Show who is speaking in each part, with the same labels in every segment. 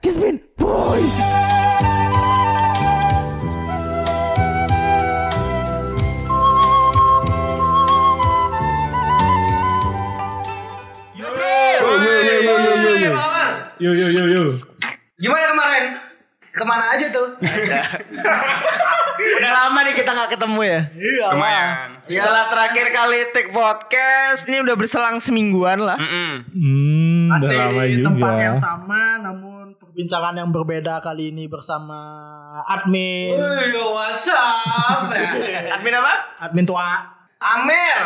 Speaker 1: Kismin Boys.
Speaker 2: Yo, yo, yo, yo, yo, yo, yo.
Speaker 3: Yo yo yo yo.
Speaker 2: Gimana kemarin? Kemana aja tuh?
Speaker 1: Udah lama nih kita nggak ketemu ya.
Speaker 2: Iya.
Speaker 4: Lumayan.
Speaker 1: Setelah terakhir kali take podcast ini udah berselang semingguan lah.
Speaker 4: Mm-mm.
Speaker 3: Hmm, udah
Speaker 5: Masih
Speaker 3: lama
Speaker 5: di Iya, tempat
Speaker 3: juga.
Speaker 5: yang sama namun perbincangan yang berbeda kali ini bersama admin
Speaker 2: Woi, yo, WhatsApp.
Speaker 1: Admin apa?
Speaker 5: admin tua
Speaker 2: Amer.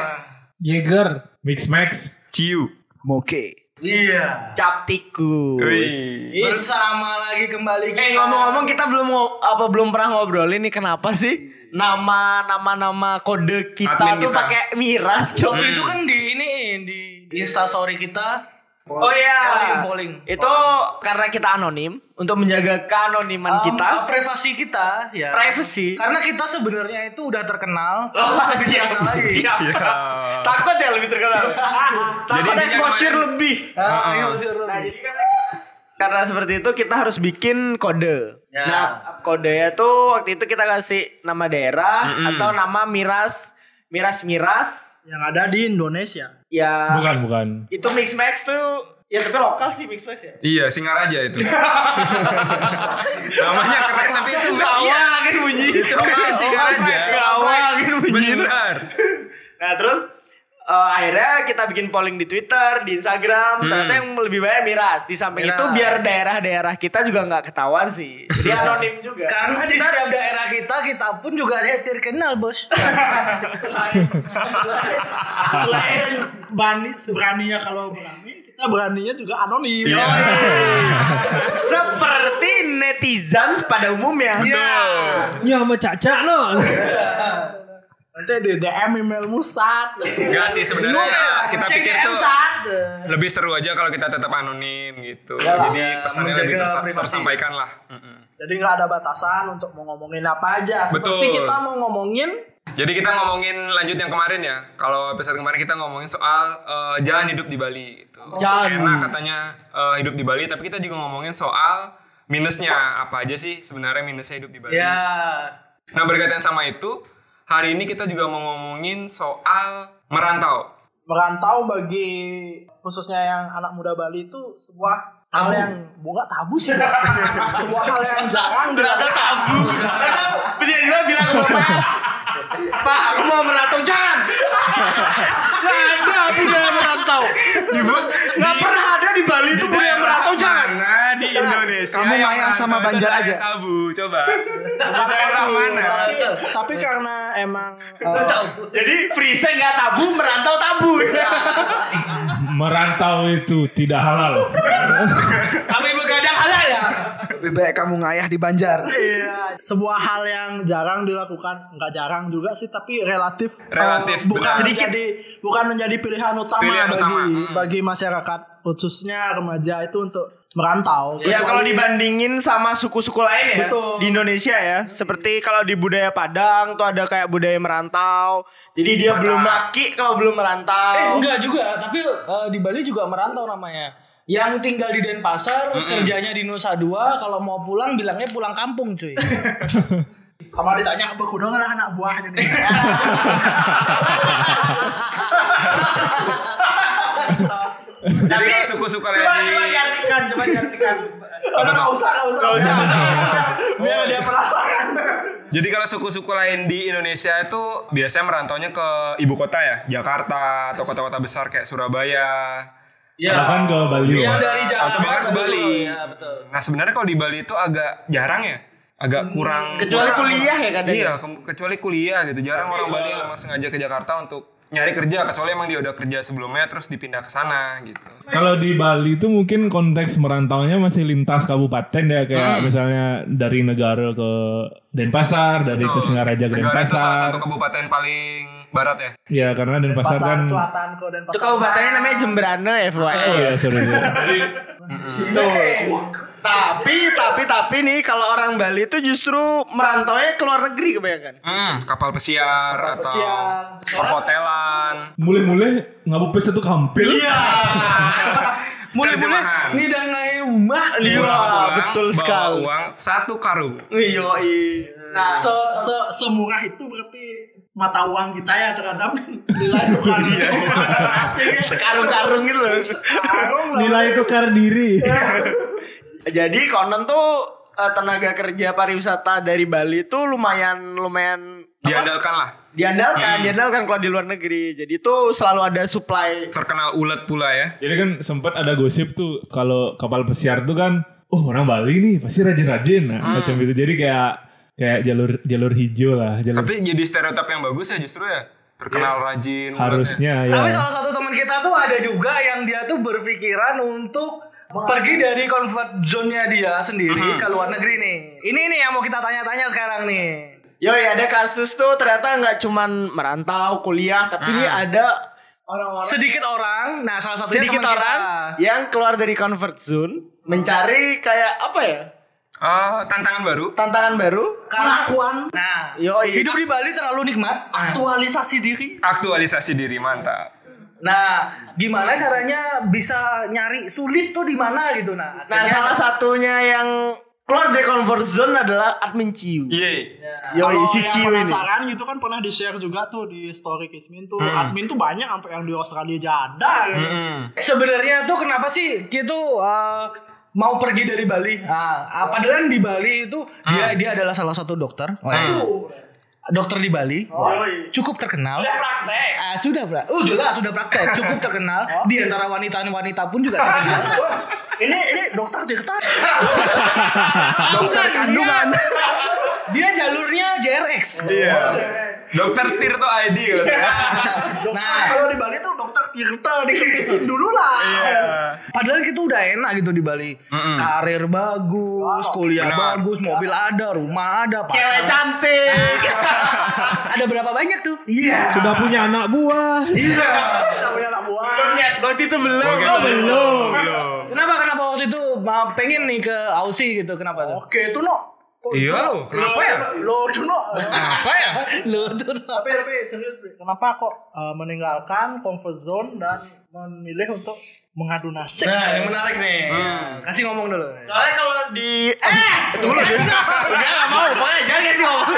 Speaker 3: Jager. Mix Max.
Speaker 4: Ciu.
Speaker 1: Moke.
Speaker 2: Iya.
Speaker 1: Cap tikus.
Speaker 4: Wih.
Speaker 2: Bersama lagi kembali kita.
Speaker 1: Eh ngomong-ngomong kita belum ngo- apa belum pernah ngobrolin nih kenapa sih nama nama nama kode kita
Speaker 4: Admin
Speaker 1: tuh
Speaker 4: kita.
Speaker 1: pakai miras cok
Speaker 2: Waktu itu kan di ini di Insta story kita.
Speaker 1: Oh iya.
Speaker 2: Polling, polling.
Speaker 1: Itu karena kita anonim untuk menjaga
Speaker 2: Um,
Speaker 1: keanoniman kita.
Speaker 2: uh, privasi kita ya.
Speaker 1: Privacy?
Speaker 2: Karena kita sebenarnya itu udah terkenal.
Speaker 1: Oh,
Speaker 2: Tapi
Speaker 1: siap,
Speaker 2: terkenal lagi.
Speaker 1: siap.
Speaker 4: Siap.
Speaker 1: Takut ya lebih terkenal. Takut
Speaker 4: intinya
Speaker 1: exposure
Speaker 4: kemarin-
Speaker 1: lebih.
Speaker 2: ya. Ah,
Speaker 1: Nah, kan-
Speaker 4: Ah,
Speaker 2: iya,
Speaker 4: ah.
Speaker 2: maksudnya lu.
Speaker 1: Karena seperti itu kita harus bikin kode.
Speaker 2: Ya.
Speaker 1: Nah, kodenya tuh waktu itu kita kasih nama daerah atau nama miras miras-miras
Speaker 5: yang ada di Indonesia.
Speaker 1: ya
Speaker 3: Bukan bukan.
Speaker 1: Itu mix max tuh ya tapi lokal sih mix max ya.
Speaker 4: Iya, singaraja itu. Namanya keren tapi itu iya.
Speaker 1: kan bunyi.
Speaker 4: Itu kan singaraja.
Speaker 1: Gawang
Speaker 2: gitu,
Speaker 1: kan bunyi.
Speaker 4: Benar.
Speaker 1: Nah terus eh, akhirnya kita bikin polling di Twitter, di Instagram. Ternyata yang lebih banyak miras. Di samping
Speaker 2: Hmm. Miras.
Speaker 1: itu biar daerah-daerah kita juga nggak ketahuan sih. Jadi anonim juga.
Speaker 2: Karena di setiap daerah kita kita pun juga ada yang terkenal, Bos.
Speaker 5: Selain berani seberaninya kalau berani, kita beraninya juga anonim.
Speaker 4: Iya.
Speaker 1: Oh, Seperti netizen pada umumnya. Iya.
Speaker 3: Ya sama Caca lo.
Speaker 5: Nanti di DM email Musat.
Speaker 4: Enggak Iya sih sebenarnya kita pikir
Speaker 5: CDM
Speaker 4: tuh
Speaker 5: Sat.
Speaker 4: lebih seru aja kalau kita tetap anonim gitu.
Speaker 5: Iyalah.
Speaker 4: Jadi pesannya
Speaker 2: Menjaga
Speaker 4: lebih ter-
Speaker 2: privasi.
Speaker 4: tersampaikan lah. Mm-mm.
Speaker 5: Jadi nggak ada batasan untuk mau ngomongin apa aja. Seperti
Speaker 4: Betul.
Speaker 5: kita mau ngomongin
Speaker 4: Jadi kita ngomongin lanjut yang kemarin ya. Kalau episode kemarin kita ngomongin soal eh, jalan hidup di Bali gitu.
Speaker 1: Jalan.
Speaker 4: Enak katanya eh, hidup di Bali, tapi kita juga ngomongin soal minusnya apa aja sih sebenarnya minusnya hidup di Bali.
Speaker 2: Ya.
Speaker 4: Nah berkaitan sama itu, hari ini kita juga mau ngomongin soal merantau.
Speaker 5: merantau bagi khususnya yang anak muda Bali itu sebuah hal yang bunga tabu sih Bos. sebuah hal yang jarang
Speaker 1: Ternyata
Speaker 5: dilakukan.
Speaker 1: tabu. Tiba-tiba bilang ke bapak. Pak, aku mau merantau. Jangan! Nggak ada budaya merantau. Di, Nggak pernah ada di Bali itu budaya merantau. Jangan!
Speaker 4: Nah di Indonesia
Speaker 1: Kamu
Speaker 4: yang
Speaker 1: ngayang sama
Speaker 4: merantau itu
Speaker 1: Banjar
Speaker 4: daerah
Speaker 1: aja.
Speaker 4: Tabu, coba. di daerah mana?
Speaker 5: tapi, tapi karena emang eh,
Speaker 1: Jadi Frisa nggak tabu, merantau tabu.
Speaker 3: Merantau itu tidak halal.
Speaker 1: Kami begadang halal ya.
Speaker 6: Lebih baik kamu ngayah di Banjar.
Speaker 5: Iya, sebuah hal yang jarang dilakukan, nggak jarang juga sih, tapi relatif.
Speaker 4: Relatif,
Speaker 5: eh, bukan
Speaker 4: benar.
Speaker 5: sedikit, bukan menjadi pilihan utama
Speaker 4: Pilihan
Speaker 5: bagi
Speaker 4: utama, mm.
Speaker 5: bagi masyarakat khususnya remaja itu untuk merantau.
Speaker 1: Ya
Speaker 4: Iya,
Speaker 5: Kecuali-
Speaker 1: kalau dibandingin sama suku-suku lain ya
Speaker 5: Betul.
Speaker 1: di Indonesia ya, seperti kalau di budaya Padang tuh ada kayak budaya merantau. Jadi dia belum laki kalau belum merantau.
Speaker 2: Eh enggak juga, tapi eh, di Bali juga merantau namanya. Yang tinggal di Denpasar, kerjanya di Nusa Dua, kalau mau pulang bilangnya pulang kampung, cuy.
Speaker 5: sama ditanya berkudung lah anak buahnya nih.
Speaker 4: Jadi kalau suku-suku lain
Speaker 1: coba
Speaker 4: di
Speaker 1: coba ya. diartikan, coba diartikan.
Speaker 5: Udah nggak usah, nggak usah,
Speaker 1: usah, nggak
Speaker 5: Biar dia merasakan.
Speaker 4: Jadi kalau suku-suku lain di Indonesia itu biasanya merantaunya ke ibu kota ya, Jakarta atau kota-kota besar kayak Surabaya. Iya.
Speaker 3: Bahkan ke Bali.
Speaker 2: Yang dari Jakarta
Speaker 4: atau bahkan ke
Speaker 2: ke
Speaker 4: Bali.
Speaker 2: Solo, ya, betul.
Speaker 4: Nah sebenarnya kalau di Bali itu agak jarang ya, agak kurang.
Speaker 1: Kecuali kuliah ya kadang.
Speaker 4: Iya, ke- kecuali kuliah gitu. Jarang orang Bali yang emang sengaja ke Jakarta untuk nyari kerja. Kecuali emang dia udah kerja sebelumnya terus dipindah ke sana gitu.
Speaker 3: Kalau di Bali itu mungkin konteks merantaunya masih lintas kabupaten ya
Speaker 4: Hmm.
Speaker 3: kayak misalnya dari negara ke Denpasar, dari ke Singaraja ke
Speaker 4: Negara itu salah
Speaker 3: Denpasar.
Speaker 4: satu kabupaten paling barat ya.
Speaker 3: Ya karena Denpasar
Speaker 5: Pasar
Speaker 3: kan
Speaker 5: selatan kok dan
Speaker 1: Itu kabupatennya namanya Jemberane FYI.
Speaker 3: Oh ya sorry. sorry.
Speaker 1: Tapi tapi tapi nih kalau orang Bali itu justru merantaunya ke luar negeri kebanyakan.
Speaker 4: Hmm, kapal pesiar atau perhotelan. Iya.
Speaker 3: Mulai-mulai ngabupes itu kampil.
Speaker 1: Iya.
Speaker 5: Mulai-mulai
Speaker 4: Terjemahan.
Speaker 5: nidangai umah
Speaker 1: Iya,
Speaker 4: Pulang,
Speaker 1: betul
Speaker 4: bawa
Speaker 1: sekali.
Speaker 4: Uang satu karung.
Speaker 1: Iya, iya.
Speaker 7: Nah, se se semurah itu berarti mata uang kita ya terhadap nilai tukar
Speaker 4: Iya, sih, sebenarnya.
Speaker 7: Asing.
Speaker 1: Sekarung-karung gitu loh.
Speaker 7: Sekarung lah.
Speaker 3: Nilai tukar diri.
Speaker 1: Jadi konon tuh eh, tenaga kerja pariwisata dari Bali tuh lumayan lumayan apa?
Speaker 4: Diandalkan lah.
Speaker 1: diandalkan,
Speaker 5: Hmm.
Speaker 1: diandalkan kalau di luar negeri. Jadi tuh selalu ada supply.
Speaker 4: Terkenal ulet pula ya.
Speaker 3: Jadi kan sempat ada gosip tuh kalau kapal pesiar tuh kan, oh orang Bali nih pasti rajin-rajin, nah,
Speaker 4: Hmm.
Speaker 3: macam gitu. Jadi kayak kayak jalur jalur hijau lah, jalur
Speaker 4: Tapi jadi stereotip yang bagus ya justru ya. Terkenal rajin. uletnya.
Speaker 3: Iya. harusnya ya.
Speaker 5: Tapi salah satu teman kita tuh ada juga yang dia tuh berpikiran untuk pergi dari comfort zone-nya dia sendiri
Speaker 1: Mm-hmm.
Speaker 5: ke luar negeri nih. Ini nih yang mau kita tanya-tanya sekarang nih.
Speaker 1: Yo, ya, ada kasus tuh ternyata nggak cuman merantau kuliah, tapi ini
Speaker 5: Hmm.
Speaker 1: ada
Speaker 5: Sedikit orang, nah salah satunya
Speaker 1: sedikit
Speaker 5: teman
Speaker 1: orang
Speaker 5: kita.
Speaker 1: yang keluar dari comfort zone mencari kayak apa ya
Speaker 4: Ah, tantangan baru.
Speaker 1: tantangan baru iya.
Speaker 7: Pengakuan
Speaker 5: Nah,
Speaker 1: Yoi.
Speaker 5: hidup di Bali terlalu nikmat.
Speaker 7: Iya. aktualisasi diri.
Speaker 4: Aktualisasi diri mantap.
Speaker 5: Nah, gimana caranya bisa nyari sulit tuh di mana gitu nah.
Speaker 1: nah
Speaker 5: akhirnya-
Speaker 1: salah satunya yang keluar dari comfort zone adalah admin Ciu
Speaker 5: Iya.
Speaker 4: Yeay.
Speaker 7: Iya.
Speaker 1: Yoi,
Speaker 7: Kalau
Speaker 1: si
Speaker 7: yang
Speaker 1: Ciu ini
Speaker 7: penasaran gitu kan pernah di-share juga tuh di story Kismin tuh.
Speaker 1: Hmm.
Speaker 7: Admin tuh banyak sampai yang di Australia aja ada. gitu.
Speaker 5: Eh, sebenarnya tuh kenapa sih gitu uh, mau pergi dari Bali? Nah, ah, padahal di Bali itu dia
Speaker 1: Hmm.
Speaker 5: dia adalah salah satu dokter. iya. Dokter di Bali
Speaker 7: Oh, iya,
Speaker 5: cukup terkenal. Sudah praktek. sudah, Bra. Oh, jelas sudah praktek. Cukup terkenal di antara wanita-wanita pun juga terkenal.
Speaker 7: Oh. Ini ini dokter Tirta.
Speaker 5: Iya.
Speaker 1: dokter kandungan
Speaker 5: Dia jalurnya JRX.
Speaker 4: Iya. Dokter Tirto ID kalau saya.
Speaker 7: Dokter
Speaker 5: Nah.
Speaker 7: kalau di Bali tuh dokter Tirta dikepisin dulu lah.
Speaker 5: Iya. Padahal kita udah enak gitu di Bali. Karir bagus, kuliah
Speaker 4: Benar.
Speaker 5: bagus, mobil ada, rumah ada,
Speaker 1: cewek
Speaker 5: pacar.
Speaker 1: cantik
Speaker 5: Ada berapa banyak tuh?
Speaker 7: Iya,
Speaker 3: Udah punya anak buah.
Speaker 5: Iya.
Speaker 1: Iya.
Speaker 7: Kita punya anak buah.
Speaker 1: waktu itu belum
Speaker 4: Oke,
Speaker 1: oh, belum
Speaker 4: Belum.
Speaker 5: Kenapa kenapa waktu itu ma- pengen nih ke Aussie gitu kenapa tuh?
Speaker 7: Oke, itu no.
Speaker 4: Iya lo, kenapa ya?
Speaker 7: Lo tuh no.
Speaker 4: Kenapa ya?
Speaker 5: Lu tuh
Speaker 7: tapi tapi serius Bi. kenapa kok uh, meninggalkan comfort zone dan memilih untuk mengadu nasib
Speaker 5: Nah, yang menarik nih. Kasih ngomong dulu.
Speaker 1: soalnya kalau di eh tunggu dulu enggak enggak mau pokoknya jangan kasih ngomong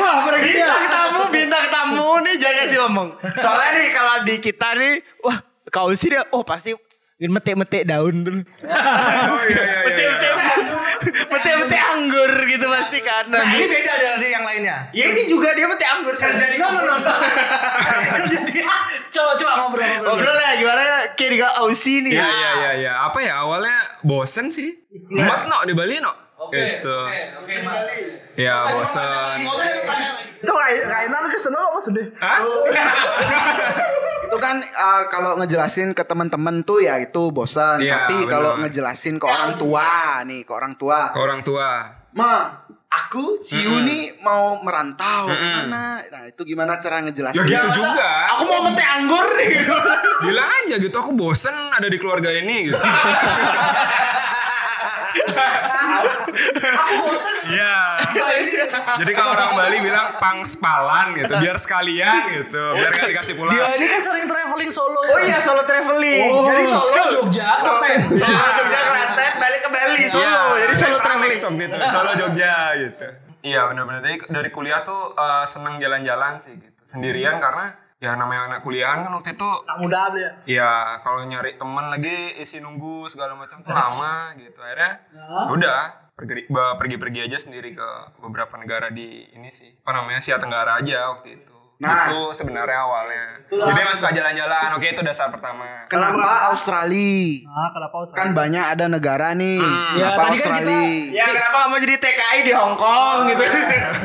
Speaker 1: wah pergi bintang tamu bintang tamu nih jangan kasih ngomong soalnya nih kalau di kita nih wah kau sih dia oh pasti metik-metik daun dulu
Speaker 4: Oh iya iya iya, iya.
Speaker 1: Petik-petik Petik-petik anggur gitu pasti kan
Speaker 5: Nah, ini
Speaker 1: Nanti-
Speaker 5: beda dari yang lainnya.
Speaker 1: Ya ini juga dia petik anggur kerja di
Speaker 5: Ngomong dong. Coba coba ngobrol ngobrol.
Speaker 1: Ngobrol ya gimana kayak di Aussie nih
Speaker 4: Iya iya iya iya. Apa ya awalnya bosen sih. Mat no di Bali no. Gitu.
Speaker 5: Oke, Mak.
Speaker 4: Ya bosen.
Speaker 7: itu Rai- Rainar kesana apa sedih
Speaker 4: Hah?
Speaker 6: itu kan eh, kalau ngejelasin ke teman-teman tuh ya itu bosan
Speaker 4: Iya,
Speaker 6: tapi
Speaker 4: bener.
Speaker 6: kalau ngejelasin ke orang tua nih ke orang tua
Speaker 4: Ke orang tua.
Speaker 6: ma aku Ciu nih mau merantau kemana nah itu gimana cara ngejelasin
Speaker 4: Ya gitu juga.
Speaker 1: Aku mau petik anggur gitu.
Speaker 4: Bilang aja gitu aku bosen ada di keluarga ini gitu. Iya. Jadi kalau orang Bali bilang pangspalan gitu, biar sekalian gitu, biar gak dikasih pulang.
Speaker 5: Dia ini kan sering traveling solo.
Speaker 1: Oh iya solo traveling
Speaker 5: Jadi Solo, Jogja, Klaten.
Speaker 1: Solo Jogja Klaten balik ke Bali Solo
Speaker 4: Iya,
Speaker 1: Jadi solo
Speaker 4: naik
Speaker 1: traveling
Speaker 4: Trans gitu, Solo Jogja gitu. Iya benar-benar. Jadi dari kuliah tuh eh, seneng jalan-jalan sih gitu, sendirian karena ya namanya anak kuliahan kan waktu itu
Speaker 7: anak muda beli ya
Speaker 4: ya kalau nyari teman lagi isi nunggu segala macam tuh lama gitu akhirnya udah pergi ba- pergi-pergi aja sendiri ke beberapa negara di ini sih apa namanya Asia Tenggara aja waktu itu
Speaker 6: Nah.
Speaker 4: itu sebenarnya awalnya jadi emang suka jalan-jalan oke itu dasar pertama
Speaker 6: kenapa Australia
Speaker 7: nah kenapa usah
Speaker 6: kan banyak ada negara nih
Speaker 4: Mm.
Speaker 5: Ya, tadi
Speaker 6: kenapa
Speaker 5: kan
Speaker 6: Australia
Speaker 5: kita-
Speaker 1: Ya kenapa kamu jadi TKI di Hong Kong gitu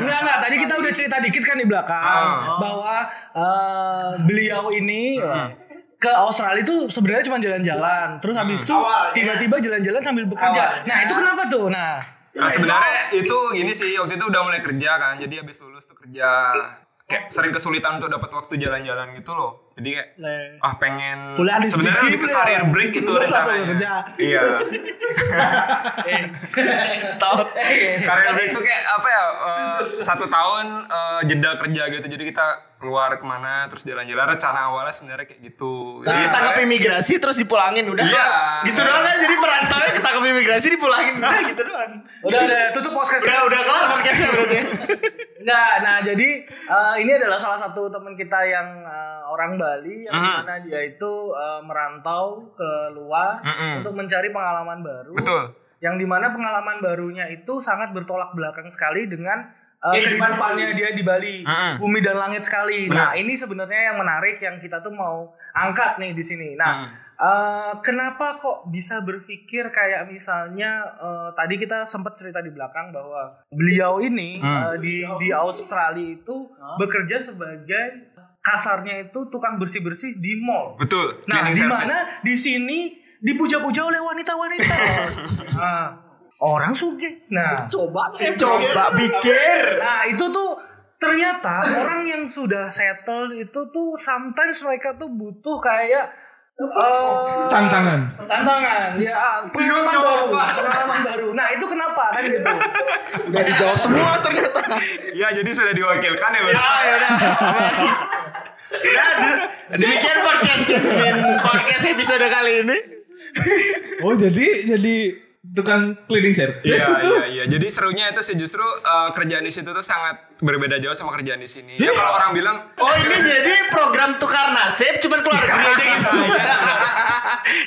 Speaker 5: Enggak, enggak. Tadi kita udah cerita dikit kan di belakang
Speaker 4: Ah.
Speaker 5: bahwa eh, beliau ini
Speaker 7: Ah.
Speaker 5: eh, ke Australia itu sebenarnya cuma jalan-jalan. Terus habis itu
Speaker 7: ya?
Speaker 5: tiba-tiba jalan-jalan sambil bekerja. Nah, itu kenapa tuh? Nah,
Speaker 4: nah sebenarnya itu gini sih waktu itu udah mulai kerja kan jadi habis lulus tuh kerja kayak sering kesulitan untuk dapat waktu jalan-jalan gitu loh Jadi kayak
Speaker 7: Nah.
Speaker 4: ah pengen
Speaker 5: Kuliah di
Speaker 4: sebenarnya lebih
Speaker 5: sedikit
Speaker 4: ke
Speaker 5: ya.
Speaker 4: karir break itu
Speaker 7: Lulus langsung kerja.
Speaker 4: rencananya. Iya. karir break itu kayak apa ya? eh, satu tahun eh, jeda kerja gitu. Jadi kita keluar kemana terus jalan-jalan rencana awalnya sebenarnya kayak gitu. Jadi
Speaker 1: Dia
Speaker 4: sebenarnya-
Speaker 1: tangkap imigrasi terus dipulangin udah.
Speaker 4: Iya.
Speaker 1: Gitu doang kan jadi perantau ketangkap imigrasi dipulangin udah gitu doang.
Speaker 5: Udah, udah, tutup podcast.
Speaker 1: Udah udah kelar podcastnya berarti.
Speaker 5: Enggak, nah jadi eh, ini adalah salah satu teman kita yang eh, orang Bali yang
Speaker 4: Mhm.
Speaker 5: mana dia itu eh, merantau ke luar
Speaker 4: Mm-mm.
Speaker 5: untuk mencari pengalaman baru.
Speaker 4: Betul.
Speaker 5: Yang dimana pengalaman barunya itu sangat bertolak belakang sekali dengan eh, kehidupannya dia di Bali,
Speaker 4: Mm-mm.
Speaker 5: bumi dan langit sekali. Nah
Speaker 4: Benar.
Speaker 5: ini sebenarnya yang menarik yang kita tuh mau angkat nih di sini. Nah
Speaker 4: Mm.
Speaker 5: Eh, kenapa kok bisa berpikir kayak misalnya eh, tadi kita sempat cerita di belakang bahwa beliau ini
Speaker 4: Hmm.
Speaker 5: eh, di di Australia itu bekerja sebagai kasarnya itu tukang bersih bersih di mall.
Speaker 4: Betul.
Speaker 5: Nah,
Speaker 4: Cleaning
Speaker 5: di
Speaker 4: service.
Speaker 5: mana di sini dipuja-puja oleh wanita-wanita. Ah, orang suge. Nah,
Speaker 7: Coba sih.
Speaker 1: Coba pikir.
Speaker 5: Nah itu tuh ternyata orang yang sudah settle itu tuh sometimes mereka tuh butuh kayak eh,
Speaker 3: Tantangan.
Speaker 5: tantangan ya pengalaman baru pengalaman baru nah itu kenapa kan gitu
Speaker 6: Udah dijawab semua ternyata.
Speaker 4: Ya, jadi sudah diwakilkan ya, Bang.
Speaker 1: Ah ya udah. Udah, jadi- Demikian podcast Kismin podcast episode kali ini.
Speaker 3: Oh jadi jadi tukang cleaning service
Speaker 4: Iya,
Speaker 3: itu.
Speaker 4: iya, iya. Jadi serunya itu sih justru eh, kerjaan di situ tuh sangat berbeda jauh sama kerjaan di sini. Ya kalau orang bilang
Speaker 1: Oh ini jadi program tukar nasib cuman keluar negeri aja gitu.
Speaker 4: Iya.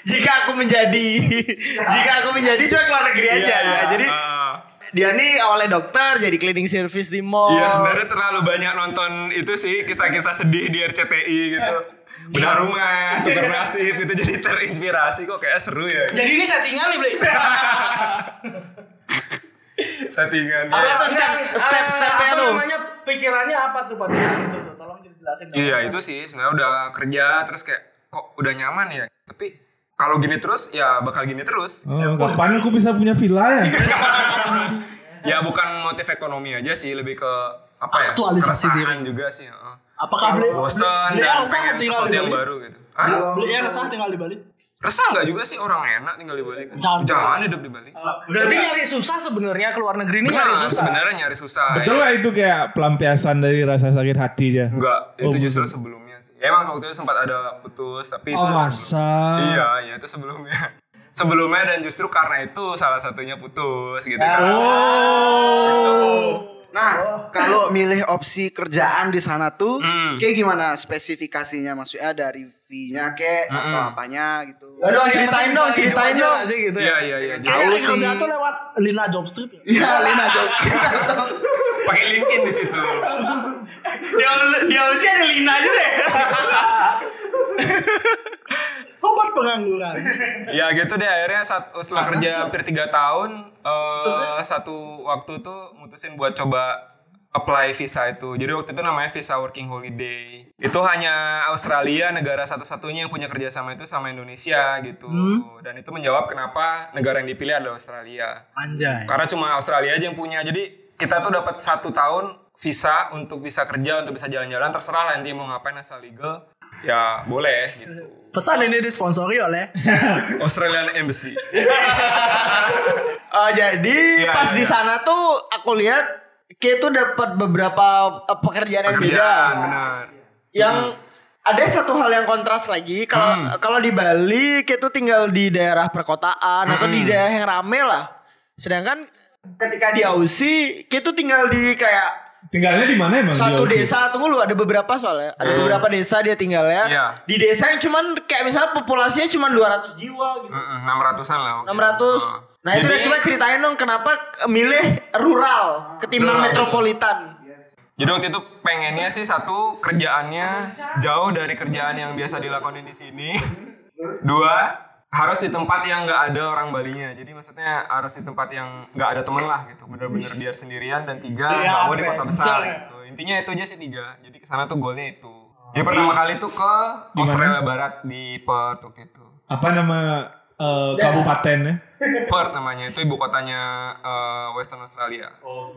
Speaker 1: jika aku menjadi jika aku menjadi cuma keluar negeri aja
Speaker 4: Iya,
Speaker 1: ya.
Speaker 4: iya.
Speaker 1: Jadi
Speaker 4: Ah.
Speaker 1: dia nih awalnya dokter jadi cleaning service di mall.
Speaker 7: Oh.
Speaker 4: Iya sebenarnya terlalu banyak nonton itu sih kisah-kisah sedih di RCTI gitu. Bedah
Speaker 7: Iya.
Speaker 4: rumah, tukar nasib gitu jadi terinspirasi kok kayak seru ya
Speaker 5: jadi ini settingan nih beli
Speaker 4: settingan.
Speaker 1: Apa tuh
Speaker 4: Ya.
Speaker 1: step step stepnya tuh?
Speaker 5: namanya pikirannya apa tuh pada saat itu tuh? tolong dijelasin dong.
Speaker 4: Iya itu sih sebenarnya udah kerja terus kayak kok udah nyaman ya. Tapi kalau gini terus ya bakal gini terus.
Speaker 3: Oh, kapan aku bisa punya villa ya?
Speaker 4: Ya bukan motif ekonomi aja sih lebih ke apa ya?
Speaker 7: Aktualisasi
Speaker 4: keresahan juga sih. heeh.
Speaker 7: Apakah beli
Speaker 4: Bosan
Speaker 7: beli
Speaker 4: dan
Speaker 7: resah
Speaker 4: pengen
Speaker 7: tinggal
Speaker 4: sesuatu
Speaker 7: di
Speaker 4: yang
Speaker 7: Bali?
Speaker 4: baru gitu. Hah?
Speaker 7: Beli yang resah tinggal di Bali.
Speaker 4: Resah nggak juga sih orang enak tinggal di Bali?
Speaker 7: Jangan.
Speaker 4: Jangan hidup di Bali.
Speaker 5: berarti nyari susah sebenarnya keluar negeri ini
Speaker 4: Benar,
Speaker 5: nyari susah
Speaker 4: sebenarnya nyari susah.
Speaker 3: Betul
Speaker 4: ya.
Speaker 3: lah itu kayak pelampiasan dari rasa sakit hati aja.
Speaker 4: Enggak, itu
Speaker 3: Oh,
Speaker 4: justru sebelumnya sih. Ya, emang waktu itu sempat ada putus, tapi itu
Speaker 3: Oh,
Speaker 4: sebelum-
Speaker 3: masa?
Speaker 4: Iya, iya itu sebelumnya. Sebelumnya dan justru karena itu salah satunya putus gitu kan.
Speaker 3: Oh.
Speaker 6: Nah, kalau milih opsi kerjaan di sana tuh
Speaker 4: Hmm.
Speaker 6: kayak gimana spesifikasinya maksudnya dari fee-nya kayak atau apanya gitu.
Speaker 5: Aduh, yang
Speaker 1: Ceritain
Speaker 5: penting
Speaker 1: dong,
Speaker 5: selain
Speaker 1: ceritain
Speaker 5: itu aja
Speaker 1: dong.
Speaker 5: nggak sih, gitu ya.
Speaker 4: Iya, iya, iya. Jadi
Speaker 6: Tahu
Speaker 7: Kayaknya
Speaker 6: sih.
Speaker 7: kerja tuh lewat Lina Job Street ya.
Speaker 6: Iya, Lena jawab.
Speaker 4: pakai LinkedIn di situ.
Speaker 1: Dia dia usia ada Lina juga. ya.
Speaker 7: Sobat pengangguran.
Speaker 4: ya gitu deh akhirnya saat setelah kerja hampir 3 tahun eh, satu waktu tuh mutusin buat coba apply visa itu. Jadi waktu itu namanya visa working holiday. Itu hanya Australia negara satu-satunya yang punya kerjasama itu sama Indonesia gitu. Dan itu menjawab kenapa negara yang dipilih adalah Australia.
Speaker 7: Anjay.
Speaker 4: Karena cuma Australia aja yang punya. Jadi kita tuh dapat satu tahun visa untuk bisa kerja, untuk bisa jalan-jalan. Terserah lah nanti mau ngapain asal legal. Ya boleh gitu.
Speaker 7: Pesan ini disponsori oleh
Speaker 4: Australian Embassy.
Speaker 1: Oh, jadi
Speaker 4: Iya,
Speaker 1: pas
Speaker 4: iya,
Speaker 1: di
Speaker 4: iya.
Speaker 1: sana tuh aku lihat Kay tuh dapat beberapa eh, pekerjaan yang
Speaker 4: Pekerjaan,
Speaker 1: beda.
Speaker 4: benar.
Speaker 1: Yang
Speaker 4: Hmm.
Speaker 1: ada satu hal yang kontras lagi kalau kalau di Bali Kay tuh tinggal di daerah perkotaan atau
Speaker 4: Hmm.
Speaker 1: di daerah yang rame lah. Sedangkan ketika di Aussie Kay tuh tinggal di kayak
Speaker 3: Tinggalnya di mana emang?
Speaker 1: satu
Speaker 3: dia, Usi?
Speaker 1: desa tunggu lu ada beberapa soalnya ada beberapa desa dia tinggalnya
Speaker 4: Hmm. Iya.
Speaker 1: di desa yang cuman kayak misalnya populasinya cuman 200 jiwa gitu
Speaker 4: Enam ratusan lah. waktu itu. Oh.
Speaker 1: 600 nah itu udah
Speaker 4: Ah. Jadi-
Speaker 1: coba ceritain dong kenapa milih rural ketimbang
Speaker 4: Rural,
Speaker 1: metropolitan
Speaker 4: Jadi waktu itu pengennya sih satu kerjaannya jauh dari kerjaan yang biasa dilakonin di sini. Dua harus di tempat yang nggak ada orang Balinya. Jadi maksudnya harus di tempat yang nggak ada temen lah gitu. Bener-bener biar sendirian dan tiga
Speaker 7: Iya,
Speaker 4: nggak mau di kota
Speaker 7: adventure
Speaker 4: besar
Speaker 7: ya.
Speaker 4: gitu. Intinya itu aja sih tiga. Jadi kesana tuh goalnya itu. Jadi pertama kali tuh ke Australia Barat di Perth waktu itu.
Speaker 3: Apa nama eh, kabupaten ya?
Speaker 4: Perth namanya itu ibu kotanya eh, Western Australia.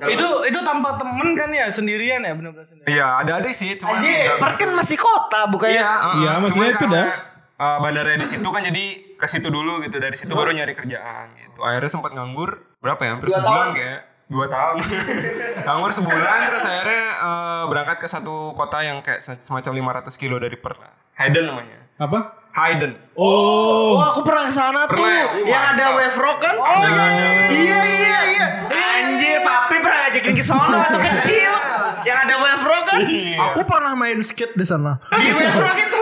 Speaker 5: Itu itu tanpa temen kan ya sendirian ya benar-benar sendirian.
Speaker 4: Iya ada adik sih cuma
Speaker 6: Perth kan masih kota bukannya
Speaker 3: Iya, maksudnya itu dah.
Speaker 4: Uh, bandaranya di situ kan jadi ke situ dulu gitu dari situ baru nyari kerjaan gitu akhirnya sempat nganggur berapa ya hampir sebulan kayak dua tahun nganggur sebulan terus akhirnya uh, berangkat ke satu kota yang kayak se- semacam 500 kilo dari Perth lah Hayden namanya
Speaker 3: Apa?
Speaker 4: Hayden
Speaker 6: Oh,
Speaker 3: Oh,
Speaker 6: aku pernah ke sana tuh.
Speaker 4: Pernah ya? Oh,
Speaker 6: yang ada
Speaker 4: mantap.
Speaker 6: wave rock kan? Oh iya iya iya. iya.
Speaker 1: Anjir, papi pernah ngajakin ke sono waktu kecil. Yang ada wave rock kan?
Speaker 5: Iya.
Speaker 7: Aku pernah main skate di sana.
Speaker 1: Di wave rock itu.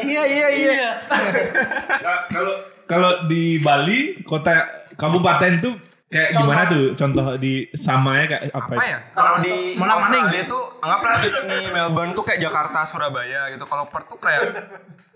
Speaker 6: Iya iya iya.
Speaker 3: Nah, kalau kalau di Bali kota kabupaten tuh kayak gimana tuh contoh di samanya kayak apa?
Speaker 4: apa
Speaker 3: itu?
Speaker 4: ya kalau di Australia itu anggaplah Sydney Melbourne tuh kayak Jakarta Surabaya gitu kalau Perth tuh kayak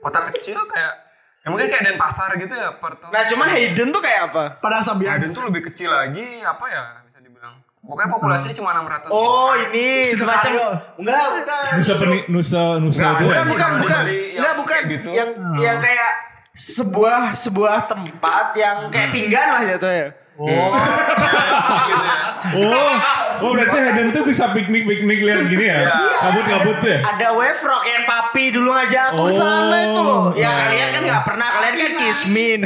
Speaker 4: kota kecil kayak ya mungkin kayak Denpasar gitu ya Perth tuh
Speaker 6: Nah, cuman Hayden tuh kayak apa?
Speaker 7: Pada sabian.
Speaker 4: Hayden tuh Ya, lebih kecil lagi apa ya bisa dibilang pokoknya populasinya cuma 600
Speaker 1: Oh, ini semacam enggak bukan.
Speaker 3: Nusa Peni Nusa Nusa
Speaker 4: Nggak
Speaker 3: itu
Speaker 4: ada
Speaker 3: ya?
Speaker 4: sih.
Speaker 1: Bukan,
Speaker 4: Kalau di
Speaker 1: bukan.
Speaker 4: Bali yang
Speaker 1: Enggak bukan
Speaker 4: kayak gitu.
Speaker 1: yang yang kayak sebuah sebuah tempat yang kayak pinggan lah jatuhnya.
Speaker 6: iya.
Speaker 4: gitu ya
Speaker 3: Oh, oh berarti Hayden tuh bisa piknik piknik lihat gini ya? Kabut-kabut tuh ya?
Speaker 1: Ada wave rock yang papi dulu ngajak aku
Speaker 3: Oh.
Speaker 1: sana itu loh. Ya kalian kan nggak pernah, kalian kan kismin.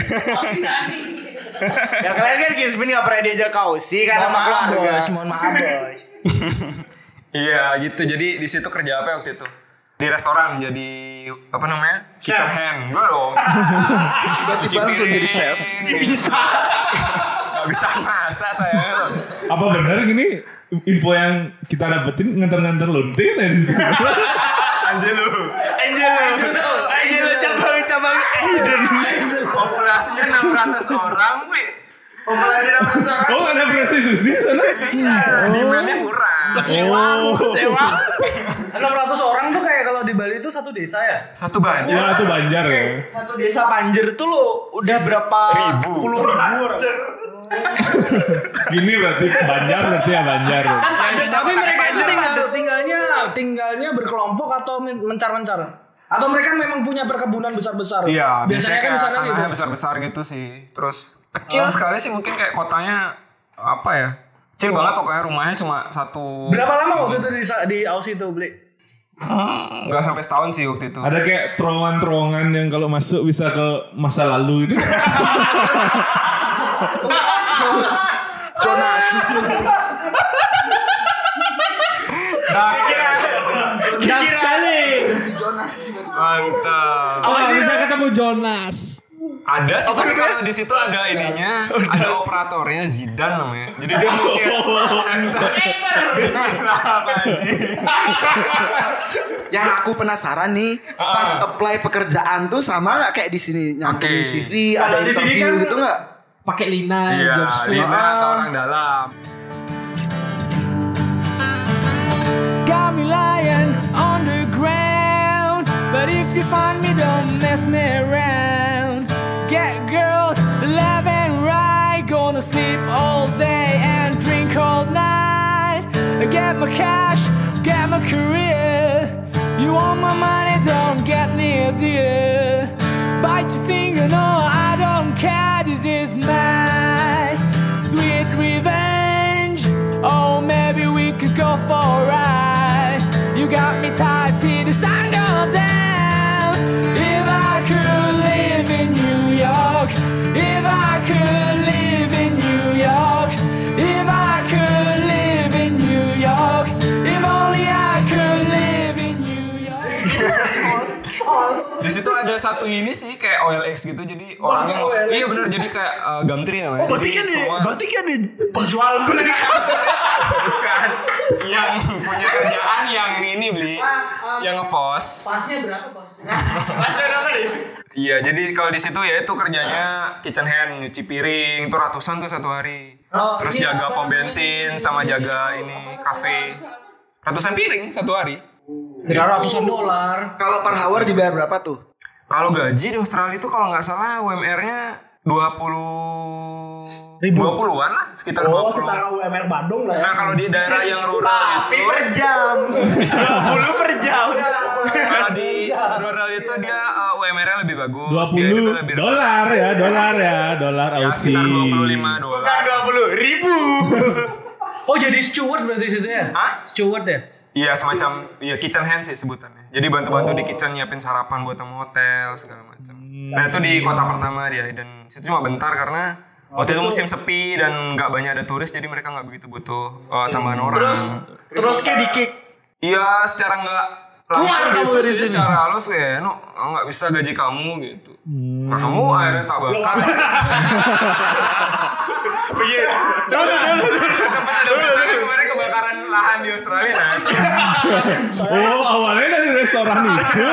Speaker 1: ya kalian kan kismin nggak pernah diajak kausi karena sama keluarga.
Speaker 5: mohon maaf bos.
Speaker 4: iya gitu jadi di situ kerja apa ya waktu itu di restoran jadi apa namanya kitchen hand gue loh
Speaker 6: Berarti langsung jadi chef.
Speaker 4: bisa nggak bisa masak saya
Speaker 3: Apa benar gini info yang kita dapetin nganter-nganter lonte ya di situ?
Speaker 4: Angelo
Speaker 1: Angelo, Angelo iya, cabang-cabang Aiden.
Speaker 4: populasinya 600 orang Wi.
Speaker 1: Populasi nama seorang.
Speaker 3: Oh ada presi susi di sana?
Speaker 4: Iya, demandnya kurang
Speaker 3: Oh,
Speaker 1: Sewa.
Speaker 5: 600 orang tuh kayak kalau di Bali itu satu desa ya.
Speaker 4: satu banyak
Speaker 3: wah itu Banjar ya.
Speaker 1: Satu desa Banjir tuh lo udah berapa
Speaker 4: Ribu.
Speaker 1: puluh ribu orang.
Speaker 3: Gini berarti Banjar berarti ya Banjar.
Speaker 5: tapi mereka itu tinggal, tinggalnya tinggalnya berkelompok atau men- mencar-mencar. Atau mereka memang punya perkebunan besar-besar.
Speaker 4: Iya, biasanya
Speaker 5: biasanya kan
Speaker 4: kayak
Speaker 5: di sana
Speaker 4: tanahnya
Speaker 5: gitu.
Speaker 4: besar-besar gitu sih. Terus kecil sekali sih mungkin kayak kotanya apa ya? Kecil banget pokoknya rumahnya cuma satu
Speaker 5: Berapa lama waktu itu di, sa- di Aussie itu beli?
Speaker 4: Hmm, nggak sampai setahun sih waktu itu.
Speaker 3: Ada kayak terowongan-terowongan yang kalau masuk bisa ke masa lalu itu.
Speaker 6: Jonas.
Speaker 4: Nah,
Speaker 1: Dan sekali.
Speaker 4: mantap. Oh,
Speaker 3: Apa bisa ketemu Jonas?
Speaker 4: Ada sih Oh, tapi kalau di situ ada ininya, ada operatornya Zidane namanya. Jadi dia mencet enter.
Speaker 1: Nah,
Speaker 4: Bismillah, Pak Haji.
Speaker 6: Yang aku penasaran nih, pas apply pekerjaan tuh sama nggak kayak di sini
Speaker 4: Oke.
Speaker 6: nyantumin CV, ada
Speaker 1: Kalau di sini
Speaker 6: interview
Speaker 1: kan-
Speaker 6: gitu nggak?
Speaker 8: pakai Lina
Speaker 4: Iya,
Speaker 8: jobs tuh.
Speaker 4: Lina ke orang dalam.
Speaker 9: Got me lying on the ground. But if you find me, don't mess me around. Get girls, love and right. Gonna sleep all day and drink all night. Get my cash, get my career. You want my money, don't get near there. Bite your finger, no, I don't care. This is my sweet revenge. Oh, maybe we could go for a ride. You got me tied till the sun goes down. If I could live in New York, if I could live in New York, if I could live in New York, if only I could live in New York.
Speaker 4: Di situ ada satu ini sih kayak OLX gitu jadi orangnya iya benar jadi kayak uh, Gumtree namanya.
Speaker 7: Berarti
Speaker 4: Jadi
Speaker 7: kan di,
Speaker 4: semua
Speaker 7: berarti kan di penjual beli.
Speaker 4: bukan yang punya kerjaan yang ini beli
Speaker 7: um.
Speaker 4: yang ngepost.
Speaker 5: Pasnya berapa bos?
Speaker 4: Iya, jadi kalau di situ ya itu kerjanya kitchen hand, nyuci piring, itu ratusan tuh satu hari.
Speaker 7: Oh,
Speaker 4: Terus
Speaker 7: iya.
Speaker 4: jaga pom bensin sama jaga ini kafe. Ratusan piring satu hari.
Speaker 5: Kira ratusan dolar.
Speaker 6: Kalau per hour dibayar berapa tuh?
Speaker 4: Kalau gaji di Australia itu kalau nggak salah UMR-nya 20
Speaker 5: Ribu.
Speaker 4: 20-an lah, sekitar 20.
Speaker 7: Oh, setara UMR Bandung lah ya.
Speaker 4: Nah kalau di daerah yang rural itu
Speaker 1: Per jam. 20 per jam.
Speaker 4: kalau di Plural itu dia uh, UMR-nya lebih bagus.
Speaker 3: Dua
Speaker 4: dia
Speaker 3: puluh
Speaker 4: lebih
Speaker 3: dolar ya, dolar ya, dolar
Speaker 4: Ya,
Speaker 3: Aussie.
Speaker 4: sekitar 25
Speaker 1: Bukan
Speaker 4: dolar.
Speaker 1: 20 ribu.
Speaker 5: Oh jadi steward berarti situ ya?
Speaker 4: Hah?
Speaker 5: Steward ya?
Speaker 4: Iya semacam iya kitchen hand sih sebutannya. Jadi bantu-bantu
Speaker 3: Oh.
Speaker 4: di kitchen nyiapin sarapan buat tamu hotel segala macam.
Speaker 3: Hmm.
Speaker 4: Nah itu di kota pertama dia dan situ cuma bentar karena waktu itu musim sepi dan nggak banyak ada turis jadi mereka nggak begitu butuh uh, tambahan orang.
Speaker 1: Terus terus kayak di kick.
Speaker 4: Iya secara nggak langsung
Speaker 1: Keluar
Speaker 4: gitu
Speaker 1: kamu dari
Speaker 4: sih
Speaker 1: sini.
Speaker 4: secara halus kayak no nggak bisa gaji kamu gitu.
Speaker 1: Hmm.
Speaker 4: Nah kamu akhirnya tak bakar.
Speaker 1: Iya. Dulu dulu.
Speaker 4: Sempat ada berita kemarin kebakaran lahan di Australia. Nah, itu
Speaker 3: Oh, awalnya dari restoran itu.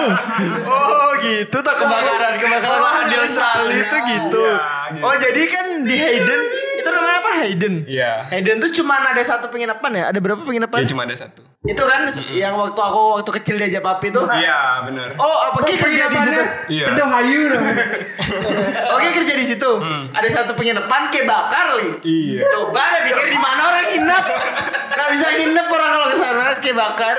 Speaker 1: Oh gitu tak kebakaran kebakaran lahan di Australia itu gitu.
Speaker 4: Iya,
Speaker 1: Oh jadi kan di Hayden itu namanya apa Hayden?
Speaker 4: Iya.
Speaker 1: Hayden tuh cuma ada satu penginapan ya? Ada berapa penginapan?
Speaker 4: Ya cuma ada satu.
Speaker 1: Itu kan yang waktu aku waktu kecil diajak papi tuh.
Speaker 4: Iya benar.
Speaker 1: Oh, apa Ki kerja di situ?
Speaker 4: Iya.
Speaker 6: Hayu
Speaker 1: Oke kerja di situ. Ada satu penginapan kayak bakar li.
Speaker 4: Iya.
Speaker 1: Coba ada pikir di mana orang nginep. Gak bisa nginep orang kalau kesana kayak bakar.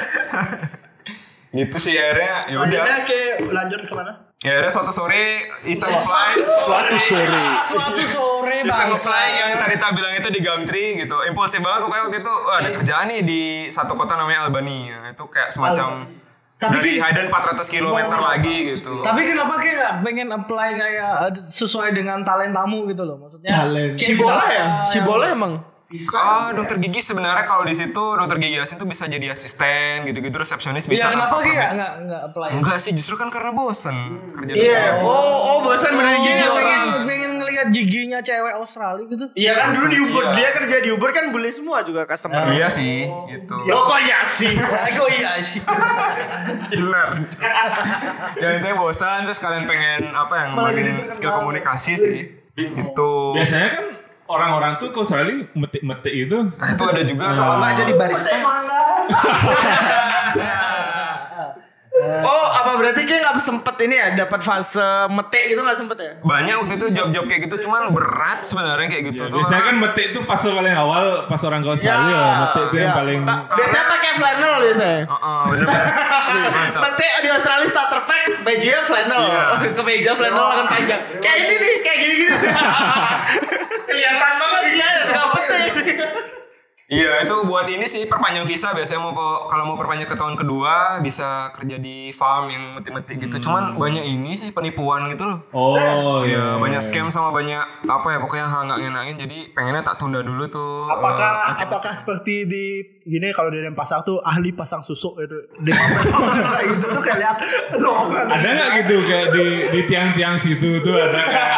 Speaker 4: Gitu sih akhirnya ya udah.
Speaker 7: Selanjutnya ke lanjut kemana?
Speaker 4: Ya akhirnya suatu sore iseng fly.
Speaker 1: Suatu sore.
Speaker 5: Suatu
Speaker 1: Iya.
Speaker 5: sore
Speaker 4: Iseng
Speaker 5: bangsa.
Speaker 4: fly yang tadi tak bilang itu di Gumtree gitu. Impulsif banget pokoknya waktu itu wah,
Speaker 5: Iya.
Speaker 4: ada kerjaan nih di satu kota namanya Albany. Ya, Itu kayak semacam
Speaker 5: Tapi
Speaker 4: dari
Speaker 5: kan-
Speaker 4: Hayden 400 km lagi gitu.
Speaker 5: Tapi kenapa kayak nggak pengen apply kayak uh, sesuai dengan talentamu gitu loh maksudnya? Talent.
Speaker 1: Si bola ya? Si
Speaker 5: Iya,
Speaker 1: bola emang.
Speaker 4: Ah,
Speaker 5: kan-
Speaker 4: dokter gigi sebenarnya kalau di situ dokter gigi asin tuh bisa jadi asisten gitu-gitu resepsionis
Speaker 5: Iya
Speaker 4: bisa.
Speaker 5: kenapa
Speaker 4: apa-apa.
Speaker 5: kayak nggak nggak nggak apply?
Speaker 4: Enggak sih, justru kan karena bosen kerja di
Speaker 1: Iya.
Speaker 4: kantor.
Speaker 1: Oh, oh bosan beneran gigi
Speaker 5: Iya, pengen
Speaker 1: orang.
Speaker 5: pengen ngelihat giginya cewek Australia gitu.
Speaker 1: Iya kan dulu di Uber
Speaker 4: Iya.
Speaker 1: dia kerja di Uber kan boleh semua juga customer.
Speaker 4: Iya sih, gitu.
Speaker 5: Iya.
Speaker 1: Lo kok ya sih?
Speaker 5: Aku iya sih.
Speaker 4: Iler. ya intinya bosan terus kalian pengen apa yang
Speaker 5: gitu kan,
Speaker 4: ngembangin skill komunikasi sih. Gitu.
Speaker 3: Biasanya kan orang-orang tuh ke Australia metik-metik itu.
Speaker 4: Nah, itu ada
Speaker 3: Iya.
Speaker 4: juga kalau nggak jadi
Speaker 1: Oh, apa berarti kayak nggak sempet ini ya dapat fase metik gitu nggak sempet ya?
Speaker 4: banyak waktu itu job-job kayak gitu cuman berat sebenarnya kayak gitu tuh.
Speaker 3: Biasanya kan metik itu pas paling awal pas orang ke
Speaker 1: Ya,
Speaker 3: Australia, metik itu
Speaker 1: iya.
Speaker 3: yang paling
Speaker 1: Biasanya pakai flannel biasanya.
Speaker 4: Heeh, bener bener. Mantap.
Speaker 1: Metik di Australia starter pack bajunya flannel,
Speaker 4: Iya. Oh.
Speaker 1: kemeja flannel lengan panjang. Kayak ini nih, kayak gini-gini. Kelihatan banget dia suka petik.
Speaker 4: Iya, itu buat ini sih perpanjang visa biasanya mau ke- kalau mau perpanjang ke tahun kedua bisa kerja di farm yang metik-metik gitu. Cuman banyak ini sih penipuan gitu loh.
Speaker 3: Hmm.
Speaker 1: Nah.
Speaker 3: Oh,
Speaker 4: Iya,
Speaker 3: iya.
Speaker 4: banyak scam sama banyak apa ya pokoknya hal nggak ngenain jadi pengennya tak tunda dulu tuh.
Speaker 7: Apakah
Speaker 4: eh,
Speaker 7: apakah seperti di gini kalau di Denpasar tuh ahli pasang susuk itu di kayak gitu tuh kayak lo
Speaker 3: Ada nggak gitu kayak di di tiang-tiang situ tuh ada kayak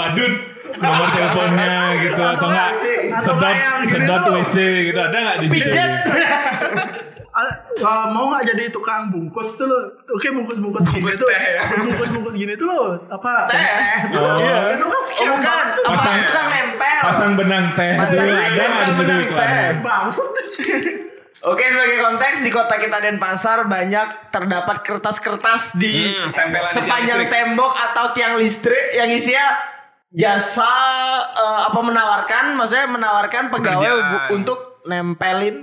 Speaker 3: badut nomor teleponnya gitu
Speaker 1: Nah,
Speaker 3: atau nggak
Speaker 7: sih, atau
Speaker 3: sedot
Speaker 7: nggak yang gini
Speaker 3: sedot
Speaker 7: tuh.
Speaker 3: WC gitu ada nggak di situ?
Speaker 1: Pijet.
Speaker 7: Ah, mau nggak jadi tukang bungkus tuh lo oke bungkus bungkus gini
Speaker 4: Bungkus
Speaker 7: tuh
Speaker 4: teh ya.
Speaker 7: bungkus bungkus gini tuh lo apa
Speaker 1: Teh. ya?
Speaker 7: tuh
Speaker 3: Oh.
Speaker 7: Iya, itu kan
Speaker 1: Oh,
Speaker 7: scam
Speaker 1: bukan,
Speaker 7: banget
Speaker 1: apa
Speaker 3: Pasang-
Speaker 1: tukang nempel.
Speaker 3: Pasang benang teh
Speaker 1: Pasang-
Speaker 3: tuh ada nggak di situ
Speaker 1: pasang benang
Speaker 3: iklannya?
Speaker 1: teh.
Speaker 7: tuh bangsat
Speaker 1: Oke sebagai konteks di kota kita Denpasar banyak terdapat kertas-kertas di
Speaker 4: Hmm, tempelan di tiang
Speaker 1: sepanjang
Speaker 4: listrik.
Speaker 1: tembok atau tiang listrik yang isinya jasa eh, apa menawarkan maksudnya menawarkan pegawai
Speaker 4: Pekerjaan.
Speaker 1: bu- untuk nempelin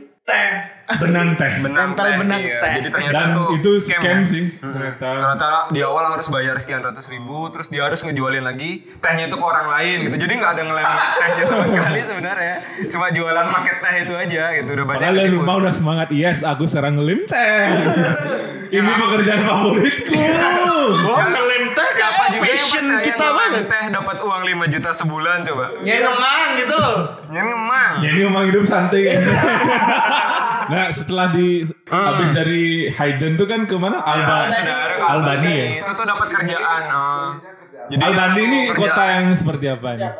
Speaker 3: Benang teh.
Speaker 4: benang
Speaker 1: Nempel
Speaker 4: teh,
Speaker 1: benang
Speaker 4: iya.
Speaker 1: teh.
Speaker 4: Jadi ternyata
Speaker 3: Dan
Speaker 4: tuh
Speaker 3: itu scam
Speaker 4: ya.
Speaker 3: sih
Speaker 4: Mm-mm.
Speaker 3: ternyata.
Speaker 4: Ternyata di awal harus bayar sekian ratus ribu, terus dia harus ngejualin lagi tehnya itu ke orang lain gitu. Jadi nggak ada ngelem tehnya sama sekali sebenarnya. Cuma jualan paket teh itu aja gitu. Udah banyak
Speaker 3: Padahal dari
Speaker 4: ketipu.
Speaker 3: rumah udah semangat Yes, aku sekarang ngelim teh Ini
Speaker 1: Iya.
Speaker 3: pekerjaan favoritku
Speaker 1: Oh, ngelem teh
Speaker 4: Siapa
Speaker 1: kayak
Speaker 4: juga
Speaker 1: passion
Speaker 4: yang percaya
Speaker 1: kita
Speaker 4: ngelam
Speaker 1: banget.
Speaker 4: teh dapat uang 5 juta sebulan coba?
Speaker 1: Nyenengan gitu loh.
Speaker 4: Ya memang.
Speaker 3: Jadi memang hidup santai kan? kayaknya Ah. Nah setelah di Habis dari Hayden tuh kan kemana? Alba, Albani ya?
Speaker 4: Itu tuh dapat kerjaan. eh. Jadi
Speaker 3: Albani
Speaker 4: satu
Speaker 3: ini
Speaker 4: kerjaan.
Speaker 3: kota yang seperti apa nih?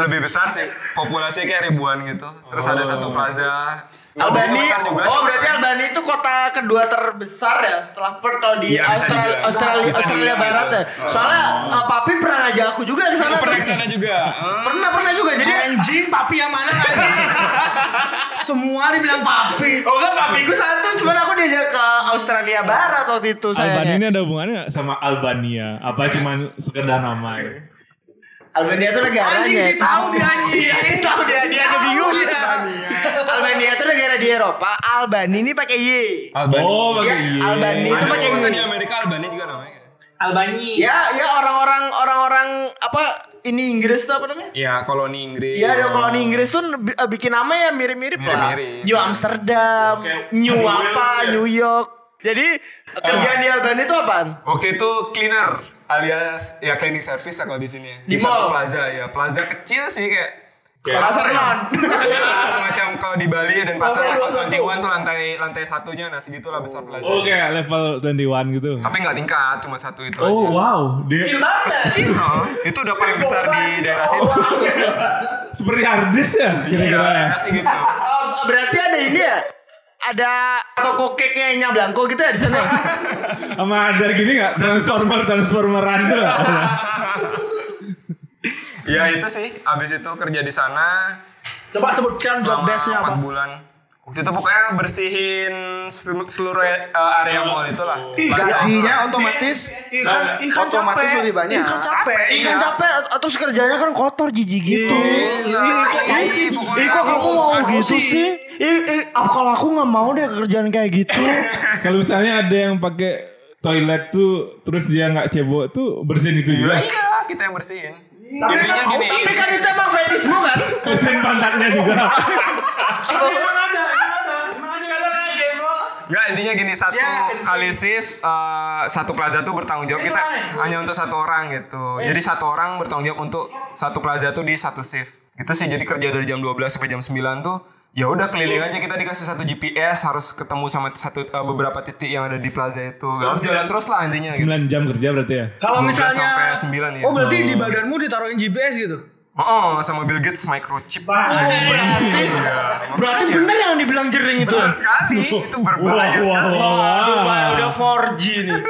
Speaker 4: lebih besar sih populasinya kayak ribuan gitu terus ada
Speaker 1: Oh.
Speaker 4: satu plaza
Speaker 1: Albani.
Speaker 4: Lebih besar juga sih
Speaker 1: oh, berarti
Speaker 4: kotanya.
Speaker 1: Albani itu kota kedua terbesar ya setelah Perth kalau di
Speaker 4: Iya, bisa
Speaker 1: Australia
Speaker 4: dibilang.
Speaker 1: Australia,
Speaker 4: Bisa
Speaker 1: Australia
Speaker 4: dibilang
Speaker 1: Barat
Speaker 4: gitu.
Speaker 1: ya. Soalnya eh, papi pernah ngajak aku juga ke sana.
Speaker 4: pernah
Speaker 1: tuh.
Speaker 4: ke sana juga Eh,
Speaker 1: Pernah pernah juga. Jadi
Speaker 5: Anjing papi yang mana lagi? Semua dibilang papi.
Speaker 1: Oh kan papiku satu, cuman aku diajak ke Australia Barat waktu itu
Speaker 3: Albani ini
Speaker 1: sayangnya.
Speaker 3: ada hubungannya nggak sama Albania? Apa cuman sekedar nama ya?
Speaker 1: Albania tuh negaranya.
Speaker 5: Anjing sih tahu dia anjing.
Speaker 1: Iya sih tahu dia, dia aja bingung. Albania tuh negara di Eropa. Albani ini pakai Y.
Speaker 4: Albani
Speaker 3: Oh, pakai
Speaker 1: Iya,
Speaker 3: iya.
Speaker 1: Albani.
Speaker 4: Ada
Speaker 1: itu pakai
Speaker 4: kota
Speaker 1: ini.
Speaker 4: di Amerika Albani juga nama
Speaker 7: Albani.
Speaker 1: Ya, ya orang-orang orang-orang apa ini Inggris tuh apa namanya?
Speaker 4: Iya, koloni Inggris.
Speaker 1: Ya, ada koloni Inggris tuh bi- eh, bikin nama ya mirip-mirip lah.
Speaker 4: Mirip-mirip.
Speaker 1: New Amsterdam, New apa, New York. Jadi kerjaan di Albania itu apaan?
Speaker 4: Waktu itu cleaner alias ya cleaning service lah kalau di sini.
Speaker 1: Di
Speaker 4: satu
Speaker 1: mall?
Speaker 4: plaza ya, plaza kecil sih kayak
Speaker 1: Pasar non.
Speaker 4: Iya, semacam kalau di Bali dan pasar level 21 tuh lantai lantai satunya nah segitulah besar plaza.
Speaker 3: Oh kayak level 21 gitu.
Speaker 4: Tapi nggak tingkat, cuma satu itu
Speaker 3: Oh
Speaker 4: aja.
Speaker 3: wow, dia
Speaker 7: Kecil banget nggak sih.
Speaker 4: Oh, itu udah paling besar di daerah
Speaker 1: Oh,
Speaker 4: situ.
Speaker 3: seperti harddisk ya kira-kira ya.
Speaker 4: Daerah sih gitu.
Speaker 1: Eh, berarti ada ini ya? Ada toko cake-nya Nya Blanco gitu ya di sana.
Speaker 3: Sama ada gini nggak transformer transformer random lah.
Speaker 4: Ya itu sih, abis itu kerja di sana
Speaker 7: Coba sebutkan job
Speaker 4: selama
Speaker 7: desk-nya apa?
Speaker 4: 4 bulan. Waktu itu pokoknya bersihin sel- seluruh eh, area mall itulah. Plaza.
Speaker 6: Gajinya otomatis
Speaker 7: Ikan, ikan
Speaker 6: otomatis
Speaker 7: capek.
Speaker 6: lebih banyak.
Speaker 7: Ikan capek.
Speaker 1: Iya.
Speaker 6: Ikan capek terus kerjanya kan kotor jijik gitu.
Speaker 4: Iya, iya, pokoknya
Speaker 6: Ih kok kamu
Speaker 4: aku-
Speaker 6: mau
Speaker 1: Iya,
Speaker 4: aku
Speaker 6: gitu sih? Ih, ih, ah, kalau aku nggak mau deh kerjaan kayak gitu.
Speaker 3: Kalau misalnya ada yang pakai toilet tuh terus dia nggak cebok tuh bersihin itu juga.
Speaker 4: Iya, kita yang bersihin. Intinya gini.
Speaker 1: Tapi kan itu emang fetismu kan?
Speaker 3: Bersihin pantatnya juga.
Speaker 4: Enggak, Ya, intinya gini satu
Speaker 5: Ya,
Speaker 4: kali shift eh, satu plaza tuh bertanggung jawab kita
Speaker 5: Iya,
Speaker 4: hanya untuk satu orang gitu. Jadi satu orang bertanggung jawab untuk satu plaza tuh di satu shift. Itu sih jadi kerja dari jam 12 sampai jam 9 tuh ya udah keliling aja kita dikasih satu GPS harus ketemu sama satu eh, beberapa titik yang ada di plaza itu. Harus jalan terus lah intinya gitu.
Speaker 3: 9 jam kerja berarti ya.
Speaker 5: Kalau
Speaker 4: 12
Speaker 5: misalnya
Speaker 4: sampai 9 ya.
Speaker 5: Oh, berarti di badanmu ditaruhin GPS gitu.
Speaker 4: Oh, sama Bill Gates microchip.
Speaker 1: Berarti berarti
Speaker 4: Iya.
Speaker 1: bener yang dibilang jering itu.
Speaker 4: Benar sekali, itu berbahaya
Speaker 3: Wah, wah,
Speaker 4: sekali.
Speaker 3: wah,
Speaker 1: Aduh,
Speaker 3: wah.
Speaker 1: Pak, udah 4G nih.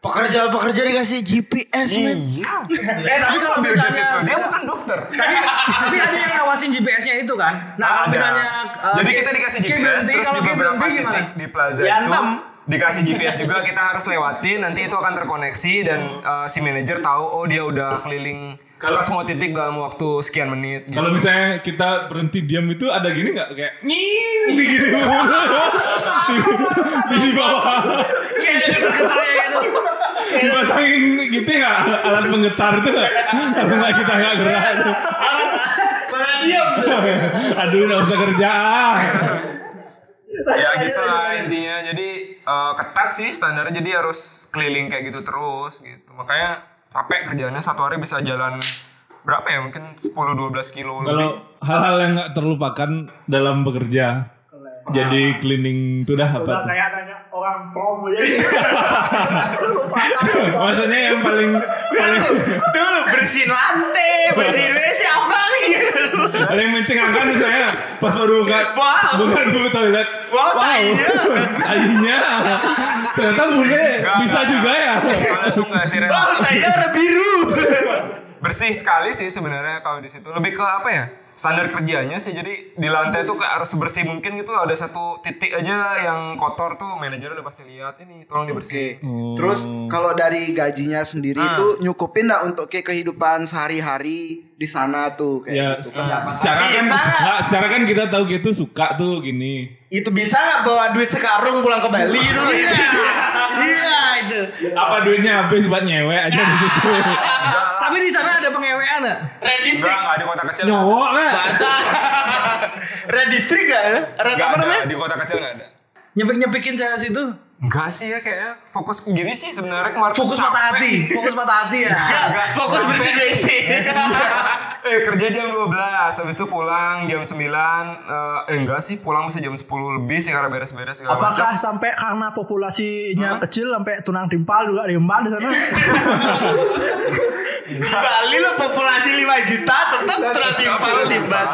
Speaker 6: Pekerja-pekerja dikasih GPS men.
Speaker 4: Iya.
Speaker 5: Eh, tapi kalau
Speaker 4: Bill Gates itu
Speaker 5: misalnya
Speaker 4: dia bukan dokter.
Speaker 5: tapi, tapi ada yang ngawasin GPS-nya itu kan. Nah, kalau
Speaker 4: Ada.
Speaker 5: misalnya uh,
Speaker 4: Jadi kita dikasih
Speaker 5: kayak
Speaker 4: GPS terus
Speaker 5: berhenti,
Speaker 4: di
Speaker 5: kalau kayak
Speaker 4: beberapa
Speaker 5: berhenti
Speaker 4: titik
Speaker 5: gimana? Ya,
Speaker 4: di plaza itu dikasih GPS juga kita harus lewatin nanti itu akan terkoneksi dan eh, si manajer tahu oh dia udah keliling setelah semua titik dalam waktu sekian menit gitu.
Speaker 3: Kalau
Speaker 5: Iya.
Speaker 3: misalnya kita berhenti diam itu ada gini nggak kayak nying di gini di, di bawah
Speaker 5: Kayak jadi bergetarnya gitu.
Speaker 3: dipasangin gitu nggak alat penggetar itu nggak kalau nggak kita nggak gerak tuh. aduh nggak usah kerja ah.
Speaker 4: ya
Speaker 5: Iya,
Speaker 4: gitu lah intinya jadi eh, ketat sih standarnya jadi harus keliling kayak gitu terus gitu makanya capek kerjaannya satu hari bisa jalan berapa ya mungkin 10-12 kilo
Speaker 3: kalau
Speaker 4: lebih
Speaker 3: hal-hal yang nggak terlupakan dalam bekerja jadi cleaning itu dah
Speaker 7: Udah
Speaker 3: apa
Speaker 1: gitu.
Speaker 3: tuh?
Speaker 7: kayak nanya orang promo jadi.
Speaker 3: maksudnya yang paling paling
Speaker 1: Tuh lu bersihin lantai, bersihin WC apa lagi?
Speaker 3: paling mencengangkan misalnya pas baru buka
Speaker 1: Wow.
Speaker 3: buka dulu toilet
Speaker 1: Wow, tainya.
Speaker 3: tainya ternyata bule bisa juga ya
Speaker 4: kalau itu nggak sih Ren?
Speaker 1: Wah, tainya warna kan biru.
Speaker 4: bersih sekali sih sebenarnya kalau di situ lebih ke apa ya standar kerjanya sih jadi di lantai tuh kayak harus sebersih mungkin gitu ada satu titik aja yang kotor tuh manajer udah pasti lihat ini tolong dibersihin
Speaker 6: Terus kalau dari gajinya sendiri itu nyukupin nggak untuk kayak kehidupan sehari-hari di sana tuh kayak
Speaker 3: ya
Speaker 6: gitu.
Speaker 3: secara kan nggak, secara kan kita tahu gitu suka tuh gini
Speaker 1: Itu bisa nggak bawa duit sekarung pulang ke Bali Iya. dulu?
Speaker 5: Iya, itu.
Speaker 3: apa duitnya habis buat nyewe aja di situ
Speaker 5: Tapi di sana ada pengewean enggak?
Speaker 4: enggak enggak di kota kecil
Speaker 3: nyowok lah
Speaker 1: Red district gak ya? Red
Speaker 4: enggak
Speaker 1: apa
Speaker 4: ada
Speaker 1: namanya?
Speaker 4: di kota kecil enggak ada
Speaker 5: Nyepik-nyepikin saya situ.
Speaker 4: enggak sih ya kayaknya fokus gini sih sebenarnya kemarin
Speaker 5: Fokus
Speaker 4: capek.
Speaker 5: mata hati, fokus mata hati ya.
Speaker 4: Enggak,
Speaker 1: Iya. Fokus
Speaker 4: capek
Speaker 1: bersihin
Speaker 4: sih.
Speaker 1: WC.
Speaker 4: eh kerja jam 12 habis itu pulang jam 9 eh enggak sih pulang bisa jam 10 lebih sih karena beres-beres segala macam
Speaker 7: Apakah sampai karena populasinya kecil sampai tunang timpal juga timpal di sana?
Speaker 1: Di Bali lo populasi 5 juta tetap tertimpal limbat.